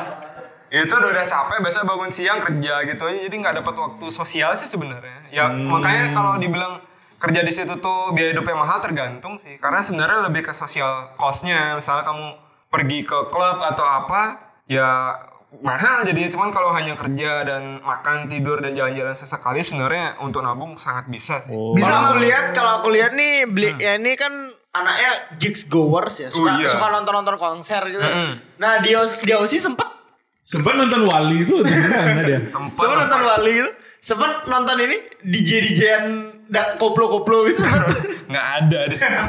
Speaker 4: itu udah, udah capek biasa bangun siang kerja gitu aja jadi nggak dapat waktu sosial sih sebenarnya ya makanya kalau dibilang kerja di situ tuh biaya hidupnya mahal tergantung sih karena sebenarnya lebih ke sosial costnya misalnya kamu pergi ke klub atau apa ya mahal jadinya cuman kalau hanya kerja dan makan tidur dan jalan-jalan sesekali sebenarnya untuk nabung sangat bisa sih
Speaker 1: Bisa aku lihat kalau aku lihat nih beli ya ini kan anaknya gigs goers ya
Speaker 4: Oh,
Speaker 1: suka
Speaker 4: iya.
Speaker 1: suka nonton-nonton konser gitu.
Speaker 4: Mm-mm.
Speaker 1: Nah, dia dia sih sempet
Speaker 3: sempat nonton wali itu di mana dia
Speaker 4: sempat
Speaker 1: sempet nonton Bali gitu. Sempet nonton ini DJ DJan da- koplo-koplo gitu.
Speaker 4: nggak ada di sana.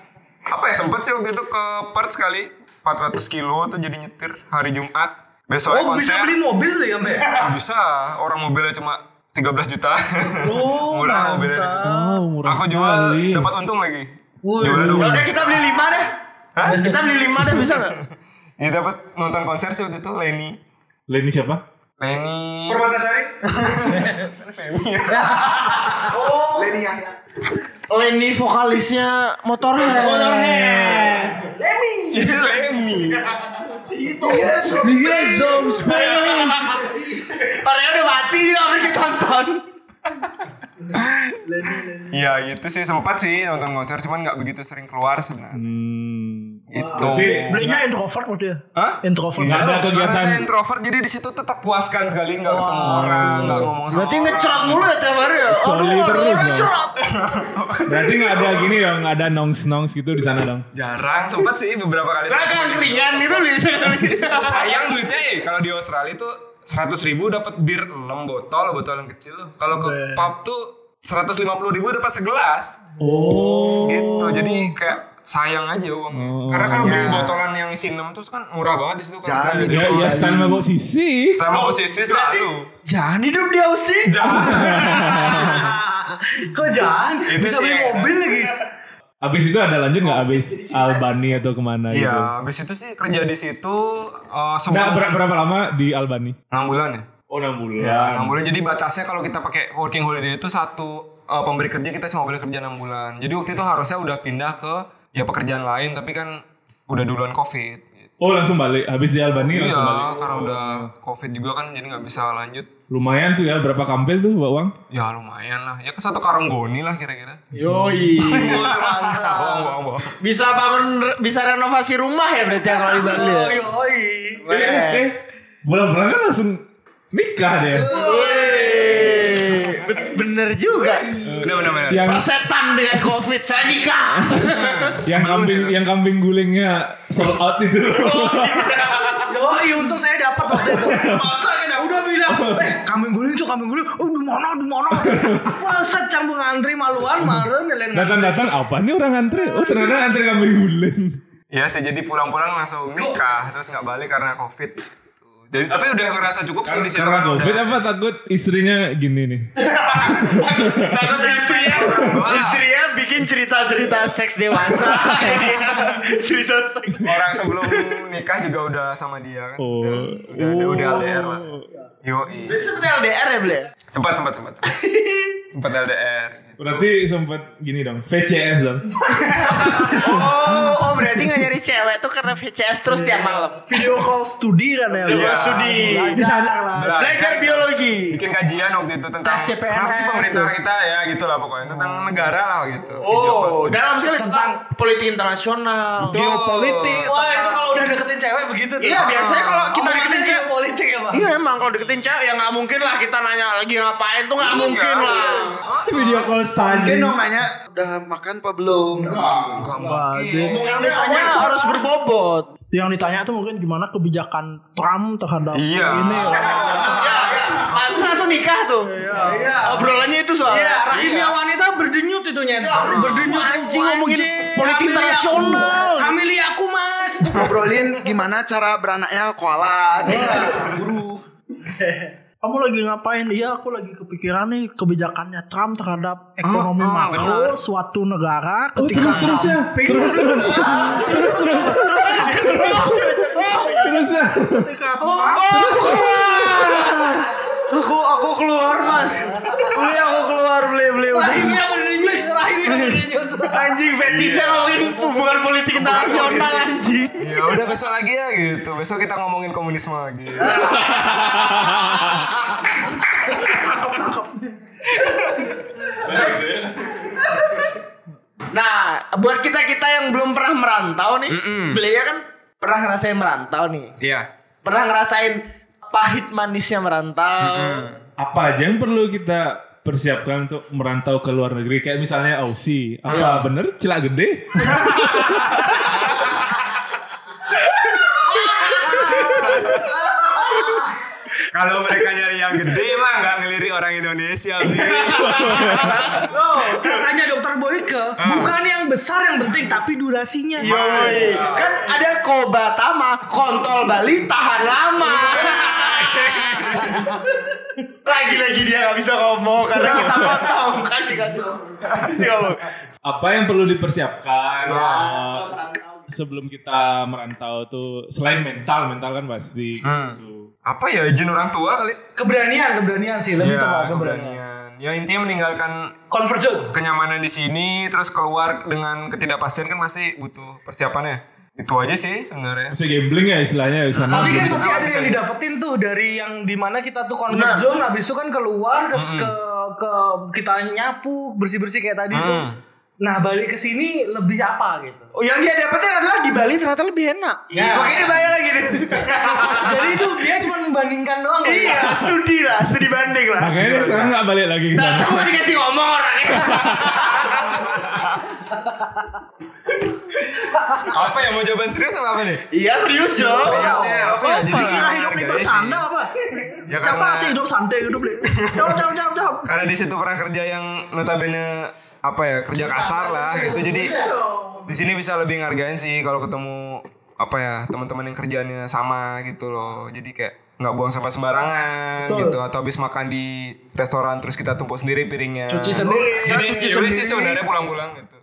Speaker 4: apa ya sempet sih waktu itu ke Perth sekali 400 kilo tuh jadi nyetir hari Jumat besoknya
Speaker 5: Oh
Speaker 4: konser
Speaker 5: bisa beli mobil tuh ya Mbak?
Speaker 4: Nggak bisa orang mobilnya cuma 13 juta
Speaker 5: Oh,
Speaker 4: murah mobilnya di situ
Speaker 5: mantap.
Speaker 3: Oh, murah
Speaker 4: aku jual
Speaker 3: sekali.
Speaker 4: dapat untung lagi
Speaker 5: Wih.
Speaker 4: jualnya dua
Speaker 1: Udah kita beli lima deh.
Speaker 4: Hah?
Speaker 1: Kita beli lima deh bisa nggak?
Speaker 4: ya dapat nonton konser sih waktu itu Lenny
Speaker 3: Lenny siapa?
Speaker 4: Lenny
Speaker 1: Permatasari.
Speaker 6: Lenny Yahya.
Speaker 7: Lenny vokalisnya Motorhead. Motorhead.
Speaker 4: Lenny
Speaker 6: Yes,
Speaker 1: Orangnya udah mati, orang ditonton.
Speaker 4: ya gitu sih sempat sih nonton konser cuman nggak begitu sering keluar sebenarnya
Speaker 3: Hmm,
Speaker 4: gitu
Speaker 3: berarti
Speaker 7: Belinya introvert kok dia.
Speaker 4: Hah? Iya.
Speaker 7: Introvert.
Speaker 3: nggak ada
Speaker 4: Karena
Speaker 3: kegiatan Oh.
Speaker 4: saya introvert jadi di situ tetap puaskan sekali nggak ketemu orang nggak ngomong sama
Speaker 7: Berarti ngecrot mulu ya tiap hari ya.
Speaker 3: Coli
Speaker 7: Aduh,
Speaker 3: terus dong.
Speaker 7: ngecrot.
Speaker 3: Berarti nggak ada gini dong, nggak ada nongs nongs gitu di sana dong.
Speaker 4: jarang sempat sih beberapa kali
Speaker 1: Nah, kan keringan gitu bisa.
Speaker 4: sayang duitnya eh kalau di Australia tuh seratus ribu dapat bir 6 botol botol yang kecil kalau ke
Speaker 3: Iya.
Speaker 4: pub tuh seratus lima puluh ribu dapat segelas
Speaker 3: Oh.
Speaker 4: gitu jadi kayak sayang aja uangnya karena kalau beli botolan yang isi 6 tuh kan murah banget di situ kan
Speaker 6: Jangan
Speaker 4: Australia.
Speaker 3: Ya, ya stand mabok sisi.
Speaker 4: sama posisi selalu
Speaker 5: Jangan hidup di Aussie. Kok jangan?
Speaker 4: Itu
Speaker 5: bisa
Speaker 4: sih
Speaker 5: beli
Speaker 4: yang-
Speaker 5: mobil lagi.
Speaker 3: Abis itu ada lanjut nggak abis Albani atau kemana gitu?
Speaker 4: Iya, habis itu sih kerja di situ eh
Speaker 3: Nah,
Speaker 4: semua
Speaker 3: ber- berapa lama di Albani?
Speaker 4: 6 bulan ya.
Speaker 3: Oh, 6 bulan.
Speaker 4: Ya, 6 bulan. Jadi batasnya kalau kita pakai working holiday itu satu eh, pemberi kerja kita cuma boleh kerja 6 bulan. Jadi waktu itu harusnya udah pindah ke ya pekerjaan lain tapi kan udah duluan Covid. gitu.
Speaker 3: Oh, langsung balik. Habis di Albani
Speaker 4: Iya,
Speaker 3: langsung balik.
Speaker 4: karena udah Covid juga kan jadi nggak bisa lanjut.
Speaker 3: Lumayan tuh ya, berapa kampil tuh, Mbak Wang?
Speaker 4: Ya lumayan lah. Ya ke satu karanggoni lah kira-kira.
Speaker 3: Ya.
Speaker 1: Yoi.
Speaker 4: Bohong, bohong, bohong.
Speaker 1: Bisa bangun, bisa renovasi rumah ya berarti ya kalau di Bali. ya?
Speaker 5: Oi, oi.
Speaker 3: Eh, eh, eh. Bulan-bulan kan langsung nikah deh.
Speaker 7: Iya.
Speaker 1: Wih, bet- bener juga.
Speaker 4: Bener, bener, bener.
Speaker 3: Yang
Speaker 1: Persetan dengan covid saya nikah.
Speaker 3: yang
Speaker 4: sebelum
Speaker 3: kambing
Speaker 4: sih.
Speaker 3: yang kambing gulingnya sold out
Speaker 7: Oh,
Speaker 3: itu.
Speaker 7: iya.
Speaker 5: Yoi, untung saya dapat waktu itu.
Speaker 1: Masa ya udah bilang.
Speaker 7: "Eh, Kambing guling cok, kambing guling. Oh, di mana, di mana?
Speaker 5: Masa cambung antri maluan, marah nelen.
Speaker 3: Datang-datang apa nih orang antri? Oh, ternyata antri kambing guling.
Speaker 4: Iya sih, jadi pulang-pulang langsung nikah terus nggak balik karena Covid. Jadi, tapi udah ngerasa cukup sih di situ.
Speaker 3: Karena
Speaker 4: kan udah-
Speaker 3: Covid apa takut istrinya gini nih.
Speaker 1: Takut istrinya, istrinya bikin cerita-cerita seks dewasa. cerita seks.
Speaker 4: orang sebelum nikah juga udah sama dia kan
Speaker 3: Oh.
Speaker 4: udah udah, udah, udah LDR lah yo
Speaker 1: Seperti LDR ya, Ble?
Speaker 4: sempat sempat sempat sempat. sempat LDR
Speaker 3: Berarti sempat gini dong, VCS dong.
Speaker 1: Oh, oh berarti gak nyari cewek tuh karena VCS terus tiap malam.
Speaker 7: Video call studi kan ya.
Speaker 1: Iya, studi.
Speaker 7: Di sana.
Speaker 4: Belajar.
Speaker 1: Belajar biologi.
Speaker 4: bikin kajian waktu itu tentang
Speaker 7: Tes CPNS.
Speaker 4: kenapa sih pemerintah kita ya gitu lah pokoknya tentang negara lah gitu
Speaker 1: Oh, dalam sekali Gitu, tentang politik internasional.
Speaker 4: geopolitik
Speaker 5: Wah, itu kalau udah deketin cewek begitu tuh.
Speaker 1: Iya, biasanya kalau kita
Speaker 5: Omongannya
Speaker 1: deketin
Speaker 5: juga
Speaker 1: cewek-
Speaker 5: politik ya, Pak.
Speaker 1: Iya emang kalau deketin cewek ya nggak mungkin lah kita nanya lagi ngapain tuh nggak mungkin lah.
Speaker 3: Video call
Speaker 6: Mungkin
Speaker 3: standing.
Speaker 6: dong nanya udah makan apa belum?
Speaker 1: Yang ditanya harus berbobot.
Speaker 7: Yang ditanya tuh mungkin gimana kebijakan Trump terhadap
Speaker 4: Iya.
Speaker 7: ini. ya?
Speaker 1: Pantes langsung nikah tuh. Iya. Obrolannya itu soalnya.
Speaker 5: Rahimnya wanita berdenyut itu nyet. Berdenyut
Speaker 1: Iya, Anjing ngomongin
Speaker 5: Anjing, hamili aku.
Speaker 1: politik internasional.
Speaker 5: Hamili aku, Mas.
Speaker 6: Ngobrolin gimana cara beranaknya koala, gitu, guru.
Speaker 7: Kamu lagi ngapain? Iya, aku lagi kepikiran nih kebijakannya Trump terhadap ekonomi
Speaker 4: ah,
Speaker 7: makro
Speaker 4: benar.
Speaker 7: suatu negara
Speaker 3: Oh,
Speaker 7: ketika
Speaker 3: terus terus ya. Terus terus. Terus terus. Terus terus. ya.
Speaker 1: Aku aku keluar mas. Beli aku keluar beli beli beli.
Speaker 5: Rahimnya berdenyut, rahimnya berdenyut.
Speaker 1: Anjing fetisnya ngomongin hubungan politik internasional anjing.
Speaker 4: ya udah besok lagi ya gitu besok kita ngomongin komunisme gitu
Speaker 1: Nah, buat kita kita yang belum pernah merantau nih, belinya kan pernah ngerasain merantau nih,
Speaker 4: iya
Speaker 1: pernah ngerasain pahit manisnya merantau.
Speaker 3: Apa aja yang perlu kita persiapkan untuk merantau ke luar negeri kayak misalnya Aussie apa bener celak gede
Speaker 4: Kalau mereka nyari yang gede mah nggak ngelirik orang Indonesia. gitu.
Speaker 5: Loh, katanya dokter Boyke
Speaker 7: Ah.
Speaker 5: bukan yang besar yang penting tapi durasinya.
Speaker 7: Iya,
Speaker 1: Yoi. Kan ada kobatama, kontol Bali tahan lama. Lagi-lagi dia nggak bisa ngomong karena kita potong kasih kasih ngomong. Kasih ngomong.
Speaker 3: apa yang perlu dipersiapkan uh, se- sebelum kita merantau tuh selain mental mental kan pasti
Speaker 4: Hmm.
Speaker 3: gitu.
Speaker 4: Apa ya izin orang tua kali?
Speaker 5: Keberanian, keberanian sih lebih
Speaker 4: Iya,
Speaker 5: tepat keberanian.
Speaker 4: keberanian. Ya intinya meninggalkan
Speaker 5: Convert zone.
Speaker 4: kenyamanan di sini terus keluar dengan ketidakpastian kan masih butuh persiapannya. Itu aja sih sebenarnya.
Speaker 3: Masih gambling ya istilahnya di sana.
Speaker 5: Tapi kan
Speaker 4: bisa,
Speaker 5: masih ada
Speaker 4: bisa.
Speaker 5: yang didapetin tuh dari yang dimana kita tuh comfort
Speaker 1: Benar.
Speaker 5: zone habis itu kan keluar ke ke, ke kita nyapu bersih-bersih kayak tadi tuh.
Speaker 4: Mm.
Speaker 5: Nah, balik ke sini lebih apa gitu. Nah,
Speaker 1: Oh, yang dia dapetin adalah di Bali ternyata lebih enak.
Speaker 7: Iya.
Speaker 5: Ya.
Speaker 1: Makanya dia bayar lagi nih.
Speaker 5: Jadi itu dia cuma membandingkan doang. kan?
Speaker 1: iya, studi lah, studi banding lah.
Speaker 3: Makanya dia sekarang nggak balik lagi ke sana.
Speaker 1: Aku dikasih ngomong orangnya.
Speaker 4: Apa ya mau jawaban serius apa apa nih?
Speaker 1: Iya serius Jo.
Speaker 4: Seriusnya apa ya?
Speaker 5: Nah,
Speaker 4: Jadi
Speaker 7: Dikira hidup ini
Speaker 5: iya
Speaker 7: bercanda apa?
Speaker 4: Ya,
Speaker 7: Siapa
Speaker 4: karena-
Speaker 7: sih hidup santai hidup li? Jawab jawab jawab jawab.
Speaker 4: Karena di situ pernah kerja yang notabene apa ya kerja kasar lah gitu jadi di sini bisa lebih ngargain sih kalau ketemu apa ya teman-teman yang kerjaannya sama gitu loh jadi kayak nggak buang sampah sembarangan gitu atau habis makan di restoran terus kita tumpuk sendiri piringnya
Speaker 7: Cuci sendiri. Oh.
Speaker 4: jadi ini sih sebenarnya pulang-pulang gitu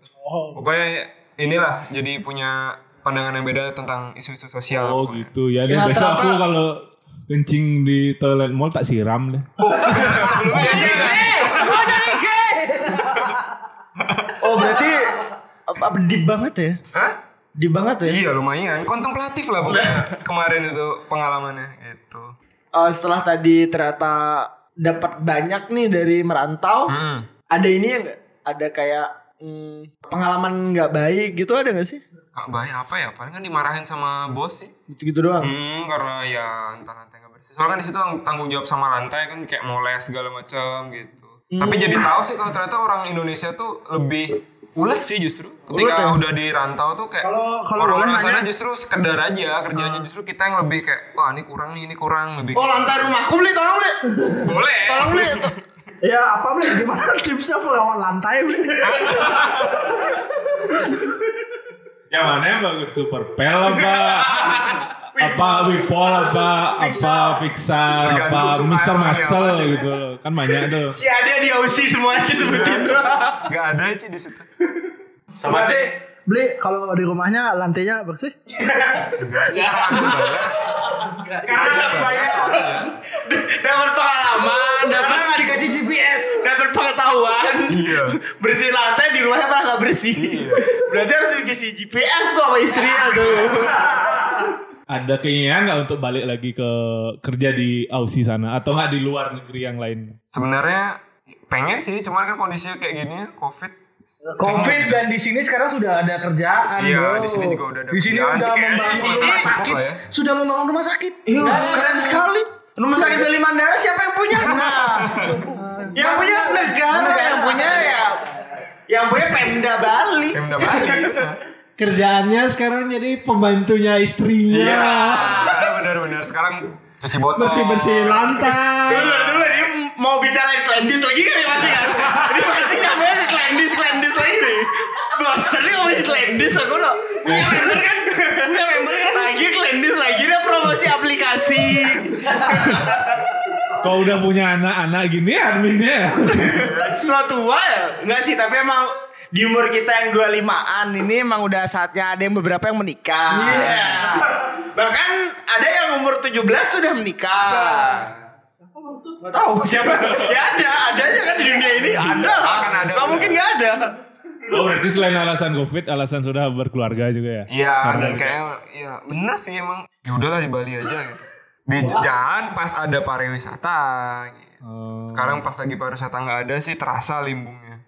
Speaker 4: pokoknya inilah jadi punya pandangan yang beda tentang isu-isu sosial
Speaker 3: Oh
Speaker 4: pokoknya.
Speaker 3: gitu ya. Dan besok aku kalau kencing di toilet mall tak siram deh.
Speaker 1: Oh berarti apa- apa, deep banget ya?
Speaker 4: Hah?
Speaker 1: Deep banget ya?
Speaker 4: Iya lumayan kontemplatif lah pokoknya kemarin itu pengalamannya gitu
Speaker 7: Eh, setelah tadi ternyata dapat banyak nih dari merantau,
Speaker 4: Hmm.
Speaker 7: ada ini yang ada kayak mm, pengalaman nggak baik gitu ada nggak sih?
Speaker 4: Kak Bay apa ya? Paling kan dimarahin sama bos sih.
Speaker 7: Gitu-gitu doang.
Speaker 4: Hmm, karena ya entah lantai nggak bersih. Soalnya kan di situ tang- tanggung jawab sama lantai kan kayak moles segala macam gitu. Tapi jadi tahu sih kalau ternyata orang Indonesia tuh lebih ulet ya? sih justru. Ketika udah di rantau tuh kayak orang-orang sana justru sekedar aja kerjanya justru kita yang lebih kayak wah ini kurang nih ini kurang lebih.
Speaker 1: Oh lantai rumahku beli tolong beli.
Speaker 4: Boleh.
Speaker 1: Tolong beli.
Speaker 7: Ya apa beli? Gimana tipsnya pelawat lantai beli?
Speaker 3: Yang mana yang bagus super pel apa? apa Wipol apa apa Pixar apa
Speaker 4: Tergantung suka
Speaker 3: Mister
Speaker 4: apa ya,
Speaker 3: Muscle
Speaker 4: maksudnya.
Speaker 3: gitu kan banyak tuh
Speaker 1: Si ada di OC semuanya disebutin.
Speaker 7: Iya.
Speaker 4: Gak ada sih di situ.
Speaker 1: Berarti
Speaker 7: Beli kalau di rumahnya lantainya bersih?
Speaker 4: Cara aku bayar.
Speaker 1: karena nggak banyak dapat pengalaman, dapat nggak dikasih GPS, dapat pengetahuan.
Speaker 4: Iya.
Speaker 1: Bersih lantai di rumahnya malah nggak bersih.
Speaker 4: Iya.
Speaker 1: Berarti harus dikasih GPS tuh sama istrinya tuh.
Speaker 3: ada keinginan nggak untuk balik lagi ke kerja di Aussie sana atau nggak di luar negeri yang lain
Speaker 4: Sebenarnya pengen sih, cuman kan kondisinya kayak gini, covid.
Speaker 5: Covid dan di sini sekarang sudah ada kerjaan.
Speaker 4: Iya,
Speaker 5: bro.
Speaker 4: di sini juga udah ada
Speaker 5: Di sini
Speaker 4: kerjaan
Speaker 5: udah
Speaker 4: sih, kayaknya
Speaker 5: membangun
Speaker 4: sih
Speaker 5: rumah
Speaker 4: cukup lah
Speaker 5: sakit.
Speaker 4: ya.
Speaker 5: Sudah membangun rumah sakit.
Speaker 1: Iya, keren sekali. Rumah sakit Bali Mandara siapa yang punya? Nah. yang punya negara, yang punya ya yang punya Pemda Bali.
Speaker 4: Yang udah balik.
Speaker 8: Kerjaannya sekarang jadi pembantunya
Speaker 4: Iya,
Speaker 8: istrinya.
Speaker 4: benar-benar sekarang cuci botol.
Speaker 8: Bersih-bersih lantai.
Speaker 1: Dulu, dulu dia mau bicarain Klendis lagi kan ya pasti kan? Dia pasti nyampe ke Klendis, Klendis lagi nih. Bosan nih ngomongin Klendis aku no. Punya member kan? Punya member kan? Lagi Klendis lagi dia promosi aplikasi.
Speaker 3: Kau udah punya anak-anak gini adminnya.
Speaker 1: Tua tua ya? Enggak sih tapi emang di umur kita yang 25-an ini emang udah saatnya ada yang beberapa yang menikah.
Speaker 4: Iya.
Speaker 1: Bahkan ada yang umur 17 sudah menikah. Gak tahu siapa. ya ada, ada aja kan di dunia ini. Ada lah.
Speaker 4: Iya. Akan ada.
Speaker 1: Gak mungkin gak ada.
Speaker 3: Oh berarti selain alasan covid, alasan sudah berkeluarga juga ya?
Speaker 4: Iya,
Speaker 3: Karena
Speaker 4: dan kayak iya benar sih emang. Ya udahlah di Bali aja gitu. Di jangan pas ada pariwisata gitu.
Speaker 8: Oh.
Speaker 4: Sekarang pas lagi pariwisata nggak ada sih terasa limbungnya.